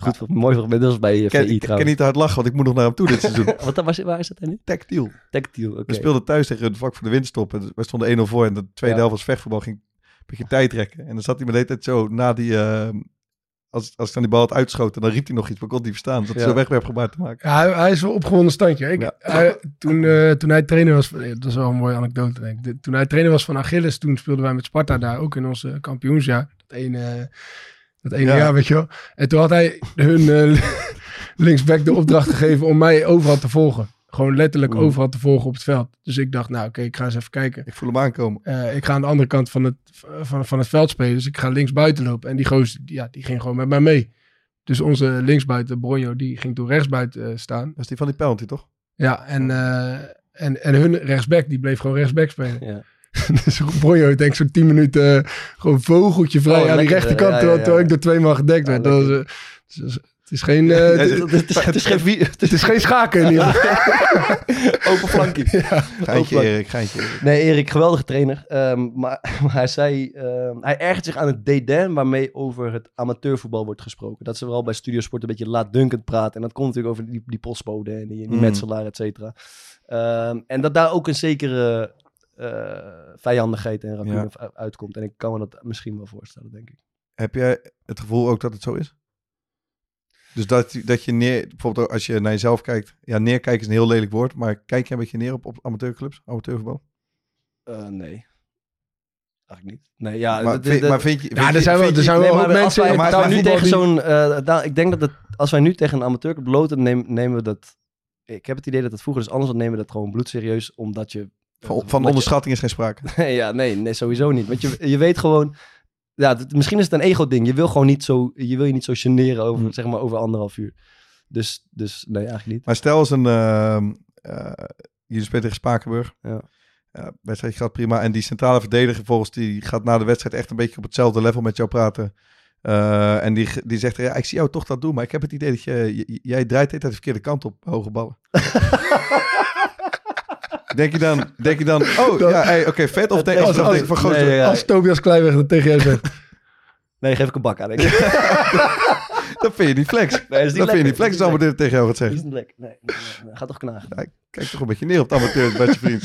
Goed, wat mooi fragment. Dat was bij eh, Ik kan, VI ik kan trouwens. niet te hard lachen, want ik moet nog naar hem toe dit seizoen. Wat, waar, waar is dat dan nu? Tactiel. Tactiel, oké. We speelden thuis tegen het vak voor de winststop. En we stonden 1-0 voor en de tweede Ja. helft was vechtvoetbal. Ging een beetje tijd trekken. En dan zat hij me de hele tijd zo na die... ehm, als, als ik dan die bal had uitschoten, dan riep hij nog iets. Maar ik kon het niet verstaan. Dat hij Ja. zo wegwerpgebaar te maken. Ja, hij, hij is wel opgewonden standje. Ik, hij- toen, eh, toen hij trainer was, van- dat is wel een mooie anekdote denk ik. De- toen hij trainer was van Achilles, toen speelden wij met Sparta daar ook in ons eh, kampioensjaar. Dat ene, dat ene Ja. jaar, weet je wel. En toen had hij hun eh, linksback de opdracht gegeven om mij overal te volgen. Gewoon letterlijk Mm. overal te volgen op het veld. Dus ik dacht, nou oké, ik ga eens even kijken. Ik voel hem aankomen. Eh, ik ga aan de andere kant van het, van, van het veld spelen. Dus ik ga links buiten lopen. En die gozer, die- ja, die ging gewoon met mij mee. Dus onze linksbuiten, Bronjo, die ging toen rechtsbuiten eh, staan. Dat is die van die penalty, toch? Ja, en, eh, en, en hun rechtsback, die bleef gewoon rechtsback spelen. Ja. dus Brojo heeft denk ik zo'n 10 minuten eh, gewoon vogeltje Oh, vrij aan die lekker, rechterkant. ja, ja, terwijl, ja. terwijl ik door twee man gedekt Ja, werd. Dat was, eh, dus- dus het is geen... eh, het, Ja, Het is- het is geen wie- het het is is geen schaken in ieder geval. open flankie. Geintje Erik, geintje Erik. Nee, Erik, geweldige trainer. Ehm, maar, maar hij zei, ehm, hij ergert zich aan het dédain waarmee over het amateurvoetbal wordt gesproken. Dat ze vooral bij Studiosport een beetje laatdunkend praten. En dat komt natuurlijk over die, die postbode en die, die Mm. metselaar, et cetera. Ehm, en dat daar ook een zekere eh, vijandigheid en rancune u- uitkomt. En ik kan me dat misschien wel voorstellen, denk ik. Heb jij het gevoel ook dat het zo is? Dus dat, dat je neer, bijvoorbeeld ook als je naar jezelf kijkt. Ja, neerkijken is een heel lelijk woord, maar kijk je een beetje neer op, op amateurclubs, amateurvoetbal? Eh, nee. Eigenlijk niet. Nee, ja, maar, dat- vind, dat- maar vind je, vind Ja, je- er zijn wel, vind er je- zijn Nee, wel maar ook mensen... als in wij, als maar- wij nu amateurvoetbal tegen die- zo'n... eh, da- ik denk dat het, als wij nu tegen een amateurclub loten, neem, nemen we dat... Ik heb het idee dat het vroeger is anders, dan nemen we dat gewoon bloedserieus, omdat je... eh, van, van omdat je- onderschatting is geen sprake. Nee, ja, nee, nee, sowieso niet. Want je, je weet gewoon... Ja, dat- misschien is het een ego-ding. Je wil gewoon niet zo... Je wil je niet zo generen over, zeg maar, over anderhalf uur. Dus, dus nee, eigenlijk niet. Maar stel eens een... ehm, eh, jullie spelen tegen Spakenburg. Ja. Ja, wedstrijd gaat prima. En die centrale verdediger volgens die gaat na de wedstrijd echt een beetje op hetzelfde level met jou praten. Eh, en die, die zegt, ja, ik zie jou toch dat doen, maar ik heb het idee dat je, j- jij draait de hele tijd de verkeerde kant op, hoge ballen. denk, je dan, denk je dan, oh ja, hey, oké, vet of denk, of als- denk je van nee, goos, ja, ja. Als Tobias Kleiweg dat tegen jou zegt. Nee, geef ik een bak aan. denk ik. dat vind je niet flex. Dat Nee, is vind je niet flex, dan moet dit tegen jou gaat Is zeggen. niet lekker. Nee, nee, nee, nee. Ga toch knagen. Kijk toch een beetje neer op de amateurs, beste vriend.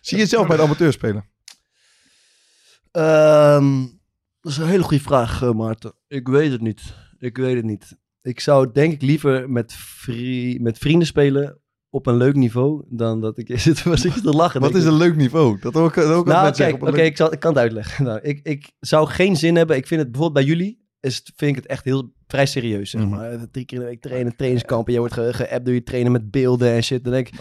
zie je jezelf bij de amateur spelen? Ehm, dat is een hele goede vraag, eh, Maarten. Ik weet het niet. Ik weet het niet. Ik zou denk ik liever met, vri- met vrienden spelen op een leuk niveau dan dat ik zit was ik te lachen. Wat denk is ik. een leuk niveau? Dat ook, dat ook Nou, altijd kijk, zeggen oké, op een leuk- ik, zal- ik kan het uitleggen. Nou, ik, ik zou geen zin hebben. Ik vind het bijvoorbeeld bij jullie is het, vind ik het echt heel vrij serieus. Zeg Mhm. maar. Eh, Drie keer in de week trainen, trainingskampen. Jij wordt ge- ge-app door je trainen met beelden en shit. Dan denk ik,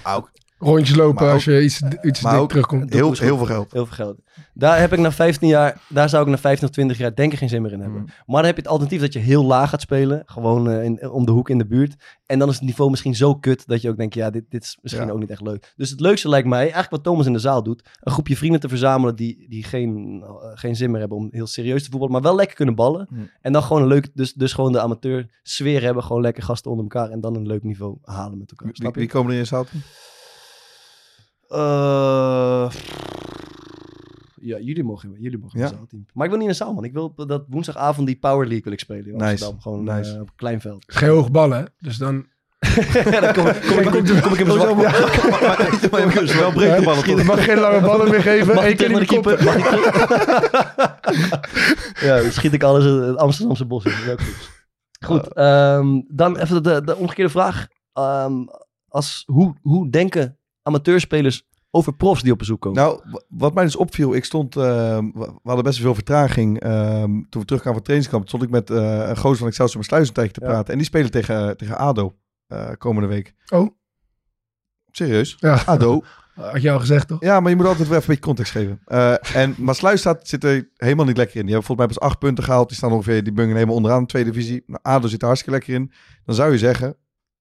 Rondjes lopen Maar als je iets, iets maar dik ook- terugkomt. doe heel, eens goed. heel veel geld. Heel veel geld. Daar heb ik na 15 jaar, daar zou ik na 15 of 20 jaar denk ik geen zin meer in hebben. Mm. Maar dan heb je het alternatief dat je heel laag gaat spelen. Gewoon eh, in, om de hoek in de buurt. En dan is het niveau misschien zo kut dat je ook denkt, ja, dit, dit is misschien Ja. ook niet echt leuk. Dus het leukste lijkt mij, eigenlijk wat Thomas in de zaal doet, een groepje vrienden te verzamelen die, die geen, eh, geen zin meer hebben om heel serieus te voetballen, maar wel lekker kunnen ballen. Mm. En dan gewoon een leuk, dus, dus gewoon de amateur sfeer hebben, gewoon lekker gasten onder elkaar en dan een leuk niveau halen met elkaar. Wie, Snap je? wie komen er in Southampton? Eh, ja, jullie mogen, jullie mogen Ja. een zaalteam. Maar ik wil niet in een zaal, man. Ik wil op dat woensdagavond die Power League wil ik spelen in Nice. Amsterdam. Gewoon Nice. eh, op een klein veld. Het is geen hoge ballen, hè? Dus dan... ja, dan kom, kom, ik- kom, ik- kom ik in mijn zwak. Wel breekt de ballen Je toch? mag geen lange ballen meer geven. Mag Eén ik keer tegen in de de kop. keeper? Mag ik terug? ja, dan schiet ik alles in het Amsterdamse bos in. Dat is ook goed. Goed, ehm, dan even de, de omgekeerde vraag. Ehm, als, hoe, hoe denken amateurspelers over profs die op bezoek komen? Nou, w- wat mij dus opviel, ik stond, ehm, we we hadden best wel veel vertraging. ehm, toen we terugkwamen van het trainingskamp, stond ik met eh een gozer van Excelsior Maassluis een tijdje te Ja. praten. En die spelen tegen, tegen ADO eh, komende week. Oh. Serieus? Ja. Ah, ADO. Had je al gezegd, toch? Ja, maar je moet altijd wel even een beetje context geven. Eh, en Maassluis staat, zit er helemaal niet lekker in. Die hebben volgens mij pas acht punten gehaald. Die staan ongeveer, die bungen helemaal onderaan de tweede divisie. Nou, ADO zit er hartstikke lekker in. Dan zou je zeggen,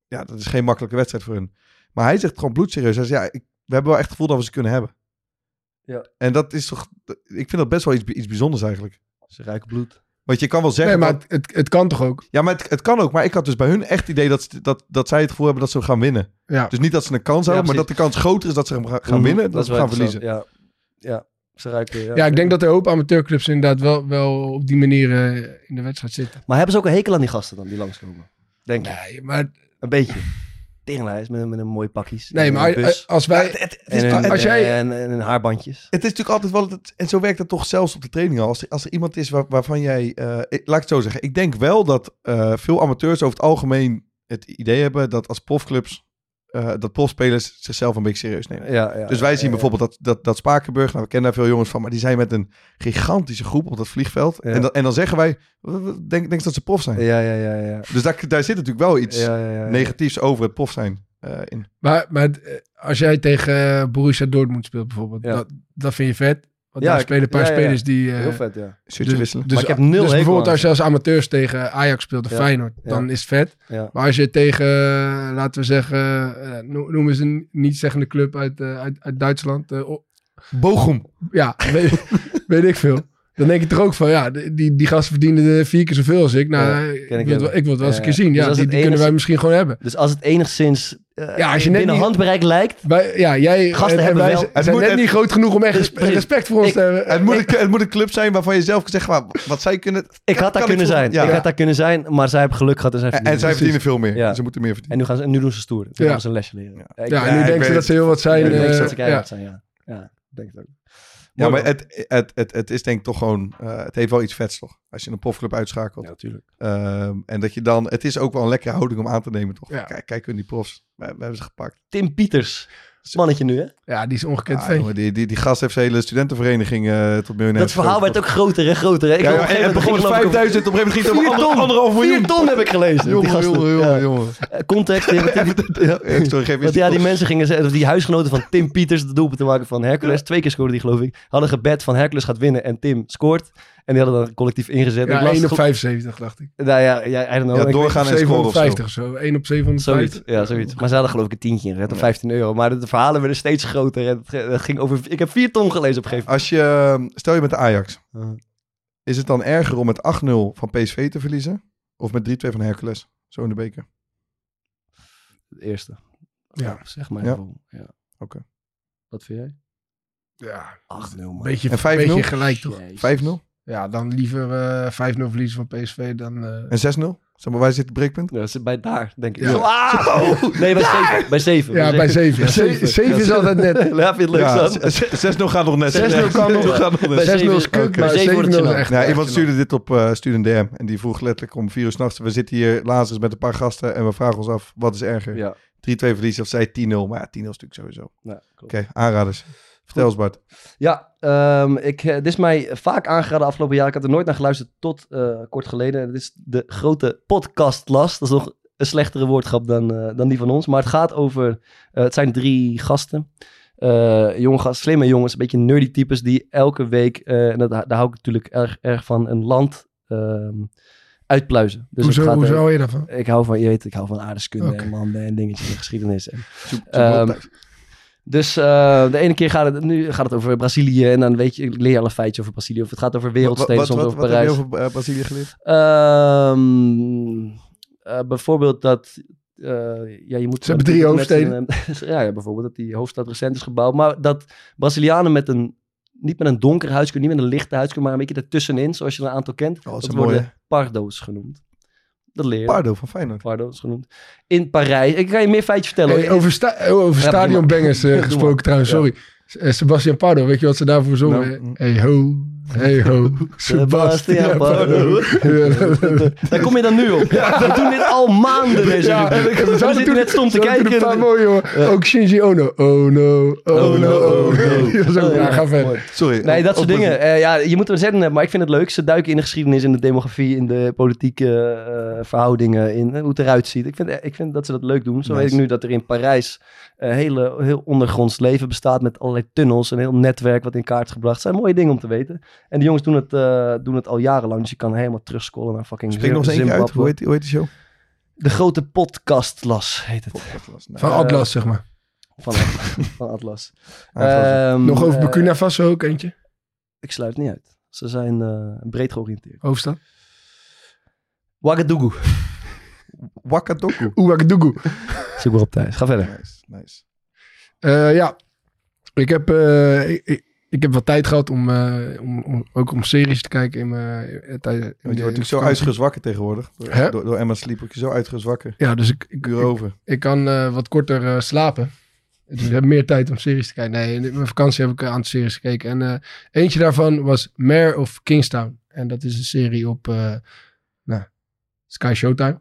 ja, dat is geen makkelijke wedstrijd voor hun. Maar hij zegt gewoon bloedserieus. Hij zegt, ja, ik, we hebben wel echt het gevoel dat we ze kunnen hebben. Ja. En dat is toch, ik vind dat best wel iets, iets bijzonders eigenlijk. Ze ruiken bloed. Want je kan wel Nee, zeggen, maar dat- het, het, het kan toch ook? ja, maar het, het kan ook. Maar ik had dus bij hun echt het idee dat, ze- dat, dat zij het gevoel hebben dat ze gaan winnen. Ja. Dus niet dat ze een kans Ja, hebben, maar dat de precies. kans groter is dat ze hem gaan- gaan winnen dan dat ze Mm-hmm. wel gaan verliezen. interessant, Ja, ja. ze ruiken. Ja. Ja, ik denk dat er een hoop amateurclubs inderdaad wel, wel op die manier eh, in de wedstrijd zitten. Maar hebben ze ook een hekel aan die gasten dan die langskomen? Denk ik. Nee, maar, Een beetje. Tegenlijst met, met een mooi pakjes. nee, en maar een bus. als wij... en, een, als jij- en, en, en haarbandjes. Het is natuurlijk altijd wel, het- en zo werkt het toch zelfs op de training al. Als er, als er iemand is waar- waarvan jij, eh, ik- laat ik het zo zeggen. Ik denk wel dat eh, veel amateurs over het algemeen het idee hebben dat als profclubs, eh, dat profspelers zichzelf een beetje serieus nemen. Ja, ja, Dus wij ja, zien ja, bijvoorbeeld dat, dat, dat Spakenburg, nou, we kennen daar veel jongens van, maar die zijn met een gigantische groep op dat vliegveld. Ja. En, dan, en dan zeggen wij, "W- w- denk, denk dat ze prof zijn. Ja, ja, ja, ja. ja. Dus daar, daar zit natuurlijk wel iets ja, ja, ja, ja. negatiefs over het prof zijn eh, in. Maar, maar eh, als jij tegen eh, Borussia Dortmund speelt bijvoorbeeld, Ja. dat, dat vind je vet. Want Ja, daar ik- spelen een paar ja, ja, ja. spelers die... eh, Heel vet, ja. Shirtje wisselen. Maar ik heb nul dus hekel bijvoorbeeld aan als je als amateurs tegen Ajax speelt of Ja. Feyenoord, Ja. dan is het vet. ja. Maar als je tegen, eh, laten we zeggen, eh, no- noem eens een niet-zeggende club uit, eh, uit, uit Duitsland, eh, o- Bochum. Ja, weet, weet ik veel. Dan denk ik toch ook van, ja, die, die gasten verdienen eh, vier keer zoveel als ik. Nou, Ja, eh, ken ik ik, wil, hem. het wel- ik wil het wel eens een Ja, keer zien. dus Ja, als die, het die kunnen wij enigszins- misschien gewoon hebben. Dus als het enigszins eh, Ja, als je net binnen niet- handbereik lijkt... Wij, ja, jij eh, Gasten en- en hebben wij wel- zijn- Het zijn moet- net het- niet groot genoeg om echt gespe- Precies. respect voor ons Ik- te hebben. Het moet, een, het moet een club zijn waarvan je zelf zegt, maar, wat zij kunnen... Ik had daar kunnen zijn. Ja. Ik had daar kunnen zijn, maar zij hebben geluk gehad en zij En, verdienen. en zij verdienen veel meer. Ja. Ze moeten meer verdienen. En nu, gaan ze, en nu doen ze stoer. Nu Ja. gaan ze een lesje leren. ik- Ja, Ja, en nu ik denken ze weet dat ze heel wat zijn. ik denk eh, dat ze ja. keihard zijn, ja. Ja, ik denk het ook. Ja, Mooi maar man. het, het, het, het is denk ik toch gewoon... eh, het heeft wel iets vets toch? Als je een profclub uitschakelt. natuurlijk. Ehm, en dat je dan... Het is ook wel een lekkere houding om aan te nemen toch? Ja. Kijk, kijk hun die profs. We, we hebben ze gepakt. Tim Pieters. Mannetje nu, hè? Ja, die is ongekend Ah, veen. jongen, die, die, die gast heeft zijn hele studentenvereniging eh, tot miljonair. Dat verhaal werd geschoten. ook groter en groter. Hè? Ik Ja, had ja, op een en gegeven het begon moment met ging het geloof ik 5000, op een gegeven moment ging het om ton. anderhalf op miljoen. Vier ton heb ik gelezen. die Jongen, gasten. jongen, Ja. jongen, jongen. Eh, Context. die hebben Tim- Ja, sorry, geef Want eens ja, die kost. mensen gingen, ze- of die huisgenoten van Tim Pieters, de doelpunt te maken van Hercules, twee keer scoorde die geloof ik, hadden gebed van Hercules gaat winnen en Tim scoort. En die hadden dan collectief ingezet. Ja, ik las 1 op gel- 75 dacht ik. Nou ja, ja, I don't know. Ja, Ik weet- doorgaan en scoren of zo. 750 of zo. 1 op Zoiets, 750. ja, zoiets. Maar ze hadden geloof ik een tientje ingezet, of 15 euro. Maar de, de verhalen werden steeds groter. En het, ge- het ging over, ik heb vier ton gelezen op een gegeven Als je, ehm, stel je met de Ajax. Is het dan erger om met 8-0 van PSV te verliezen? Of met 3-2 van Hercules? Zo in de beker. moment. De eerste. Ja. Zeg maar. Ja. Oké. Ja. Oké. Wat vind jij? Ja, 8-0 man. beetje, En 5-0? beetje gelijk toch. 5-0 Ja, dan liever eh, 5-0 verliezen van PSV dan... eh, en 6-0? Zeg maar, waar zit het breekpunt? Ja, dat zit bij daar, denk ik. Ja. Zo, ah! Nee, bij 7. Bij 7. ja, bij 7. Bij 7, zeven. is altijd net. Ja, vind je het leuk, Ja, Sam? z- z- 6-0 gaat nog net. 6-0 kan nog. Gaat nog Bij net. 6-0 is zeven- kut, oké. maar Bij zeven 7-0 wordt Dus is het echt... gênant. Nou, echt iemand gênant. stuurde dit op eh Stuur een DM. En die vroeg letterlijk om 4 uur s'nachts. We zitten hier Lazarus met een paar gasten. En we vragen ons af, wat is erger? Ja, 3-2 verliezen of zij 10-0? Maar ja, 10-0 is natuurlijk sowieso. Oké, nou, klopt. aanraders. Vertel eens Bart. Ja, ehm, ik, eh, dit is mij vaak aangeraden afgelopen jaar. Ik had er nooit naar geluisterd tot eh, kort geleden. Dit is de grote podcastlast. Dat is nog een slechtere woordgrap dan, eh, dan die van ons. Maar het gaat over... eh, het zijn drie gasten. Eh jonge gasten, slimme jongens, een beetje nerdy types... die elke week, eh, en dat, daar hou ik natuurlijk erg, erg van, een land ehm, uitpluizen. Dus het Hoezo, gaat, eh, hoezo hou je daarvan? Ik hou van, je weet, ik hou van aardeskunde Oké. en landen en dingetjes en geschiedenis. En, Zoek- zoek Ehm, wel thuis. dus eh, de ene keer gaat het, nu gaat het over Brazilië en dan weet je, ik leer al een feitje over Brazilië. Of het gaat over wereldsteden, Wat- wat- soms wat- over wat Parijs. heb je over eh, Brazilië geleerd? Ehm, eh, bijvoorbeeld dat... eh, ja, je moet Ze hebben drie hoofdsteden. Met een- eh, ja, ja, bijvoorbeeld dat die hoofdstad recent is gebouwd. Maar dat Brazilianen met een, niet met een donker huidskleur, niet met een lichte huidskleur, maar een beetje ertussenin, zoals je er een aantal kent. Oh, dat is dat mooi, worden pardo's genoemd. Dat leer je. Pardo van Feyenoord. Pardo's genoemd. In Parijs. Ik kan je meer feitjes vertellen. Hey, hoor. over sta eh, over Ja, stadionbangers eh, doe maar. gesproken trouwens, Ja. mm. sorry. S- eh, Sebastian Pardo, weet je wat ze daarvoor zongen? Nou. Hey ho, hey ho, Sebastian Pardo. Ja. Daar kom je dan nu op. We doen dit al maanden deze Ja, rubriek. en ik- We we zaten zitten toen- net stom te we zaten toen kijken. Een paar mooie, jongen. Ja. Ook Shinji Ono. Oh no, oh, Oh, no, oh no. Die was ook, Oh, ja, ga verder. mooi. Sorry. Nee, op- dat op soort Brazilië. dingen. Eh, ja, je moet er zin in hebben, maar ik vind het leuk. Ze duiken in de geschiedenis, in de demografie, in de politieke eh, verhoudingen, in hoe het eruit ziet. Ik vind, eh, ik vind dat ze dat leuk doen. Zo Nice. weet ik nu dat er in Parijs een hele, heel ondergronds leven bestaat met allerlei tunnels, een heel netwerk wat in kaart is gebracht. Het zijn mooie dingen om te weten. En de jongens doen het, eh, doen het al jarenlang, dus je kan helemaal terugscrollen naar fucking Spreek nog eens één keer uit. Zimbabwe. Hoe heet, die- hoe heet die show? De grote podcastlas heet het. Van Atlas, zeg maar. Van Atlas. van Atlas. Aangelopen. Ehm, Nog over eh, Burkina Faso ook eentje. ik sluit niet uit. Ze zijn eh, breed georiënteerd. Hoofdstad. Ouagadougou. Eh, Wakadoku. Ouagadougou. Zoek maar op thuis. Ga verder. Nice, nice. Eh, ja, ik heb, eh, ik, ik- ik heb wat tijd gehad om, eh, om, om ook om series te kijken in mijn eh, tijdens- in de- Want je wordt natuurlijk zo uitgezwakker tegenwoordig. Door, Hè? door, door Emma Sleep word je zo uitgezwakker. Ja, dus ik, ik, Uur ik, over. ik kan eh, wat korter eh, slapen. Dus ik heb meer tijd om series te kijken. Nee, in mijn vakantie heb ik een aantal series gekeken. En eh, eentje daarvan was Mayor of Kingstown. En dat is een serie op eh, nou, Sky Showtime.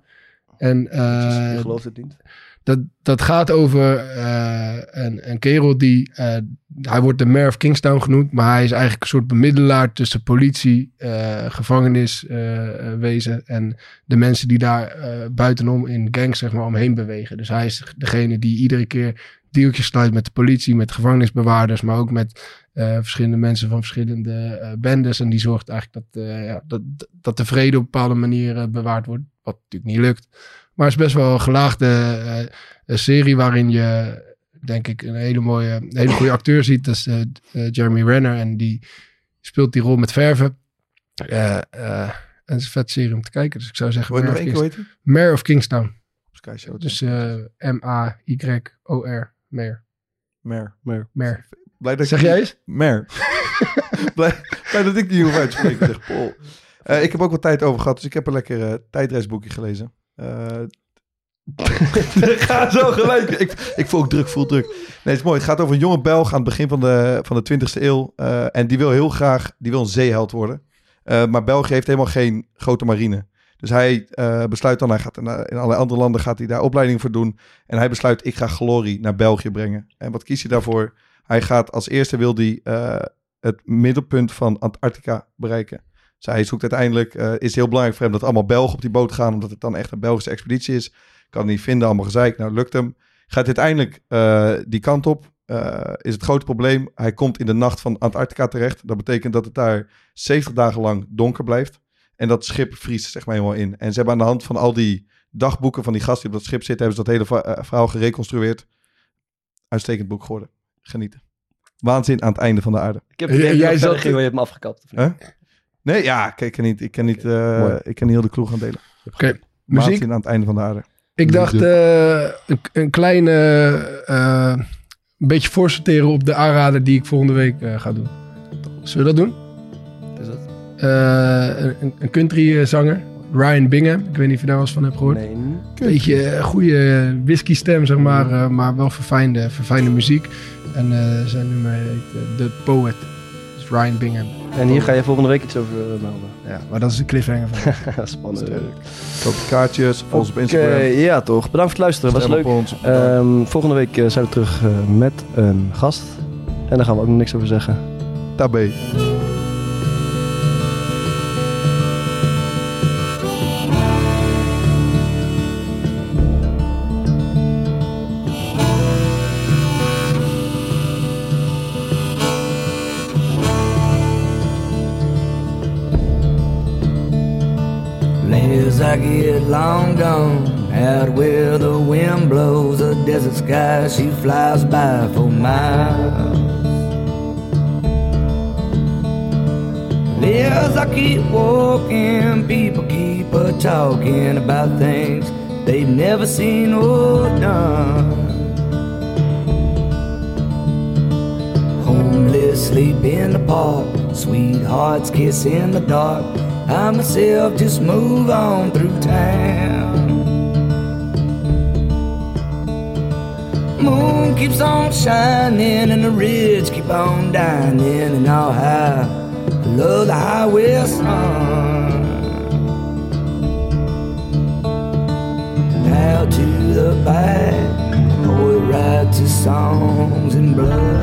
En eh, ik geloof het niet. dat, dat gaat over eh, een, een kerel die. eh, hij wordt de mayor of Kingstown genoemd, maar hij is eigenlijk een soort bemiddelaar tussen politie, eh, gevangeniswezen eh, en de mensen die daar eh, buitenom in gangs zeg maar, omheen bewegen. Dus hij is degene die iedere keer deeltjes sluit met de politie, met gevangenisbewaarders, maar ook met eh, verschillende mensen van verschillende eh, bendes. En die zorgt eigenlijk dat, eh, ja, dat, dat de vrede op bepaalde manieren bewaard wordt, wat natuurlijk niet lukt. Maar het is best wel een gelaagde eh, een serie eh, waarin je denk ik, een hele mooie, een hele goede acteur ziet. Dat is eh, eh, Jeremy Renner. En die speelt die rol met verven. Eh, eh, en het is een vet serie om te kijken. Dus ik zou zeggen, Wil je Mare nog of, één keer Kings- weten? Mare of Kingstown. Op Sky Show. Dus eh, M-A-Y-O-R. Mare. Mer. Mare. Blij dat ik Zeg die- jij eens? Mer. blij, blij dat ik die hoef uit te spreken, zegt Paul. Eh, ik heb ook wat tijd over gehad, dus ik heb een lekker eh, tijdreisboekje gelezen. Eh, ga zo gelijk. Ik, ik voel ook druk, voel druk. Nee, het is mooi. Het gaat over een jonge Belg aan het begin van de, van de 20e eeuw. eh, en die wil heel graag, die wil een zeeheld worden. Eh, maar België heeft helemaal geen grote marine. Dus hij eh, besluit dan, hij gaat naar- in allerlei andere landen gaat hij daar opleiding voor doen. En hij besluit, ik ga glorie naar België brengen. En wat kies je daarvoor? Hij gaat als eerste wil hij eh, het middelpunt van Antarctica bereiken. Dus hij zoekt uiteindelijk, eh, is het heel belangrijk voor hem dat allemaal Belgen op die boot gaan, omdat het dan echt een Belgische expeditie is. Kan hij niet vinden, allemaal gezeik. Nou, lukt hem. Gaat uiteindelijk eh, die kant op. eh, is het grote probleem. Hij komt in de nacht van Antarctica terecht. Dat betekent dat het daar 70 dagen lang donker blijft. En dat schip vriest zeg maar helemaal in. En ze hebben aan de hand van al die dagboeken van die gasten die op dat schip zitten, hebben ze dat hele va- eh, verhaal gereconstrueerd. Uitstekend boek geworden. Genieten. Waanzin aan het einde van de aarde. Ik heb het idee dat Jij jij zat- zat... ging, maar je hebt me afgekapt. Hè? Nee, ja, kijk, ik kan niet, ik kan niet, eh, mooi. ik kan niet heel de kroeg gaan delen. Oké, muziek. Waanzin aan het einde van de aarde. Ik dacht eh, een, een kleine, eh, een beetje voorsorteren op de aanrader die ik volgende week eh, ga doen. Zullen we dat doen? Is dat? Eh, een, een country eh, zanger, Ryan Bingham. Ik weet niet of je daar wel eens van hebt gehoord. Nee. Een beetje eh, goede whisky stem, zeg maar, eh, maar wel verfijnde, verfijnde muziek. En eh, zijn nummer heet eh, The Poet. Dus Ryan Bingham. En hier ga je volgende week iets over eh, melden. Ja, maar dat is de cliffhanger van. Spannend. Koop de kaartjes, volg ons op Oké, Instagram. ja toch. Bedankt voor het luisteren. Was Stem leuk. op ons. Ehm, volgende week eh, zijn we terug eh, met een gast. En daar gaan we ook nog niks over zeggen. Tabé. Late as I get long gone, out where the wind blows a desert sky, she flies by for miles. Late As I keep walking, people keep a talking about things they've never seen or done. Homeless sleep in the park, sweethearts kiss in the dark. I myself just move on through town. Moon keeps on shining and the rich keep on dining and all high. Love the highway sun. Out to the back, we ride to songs and blood.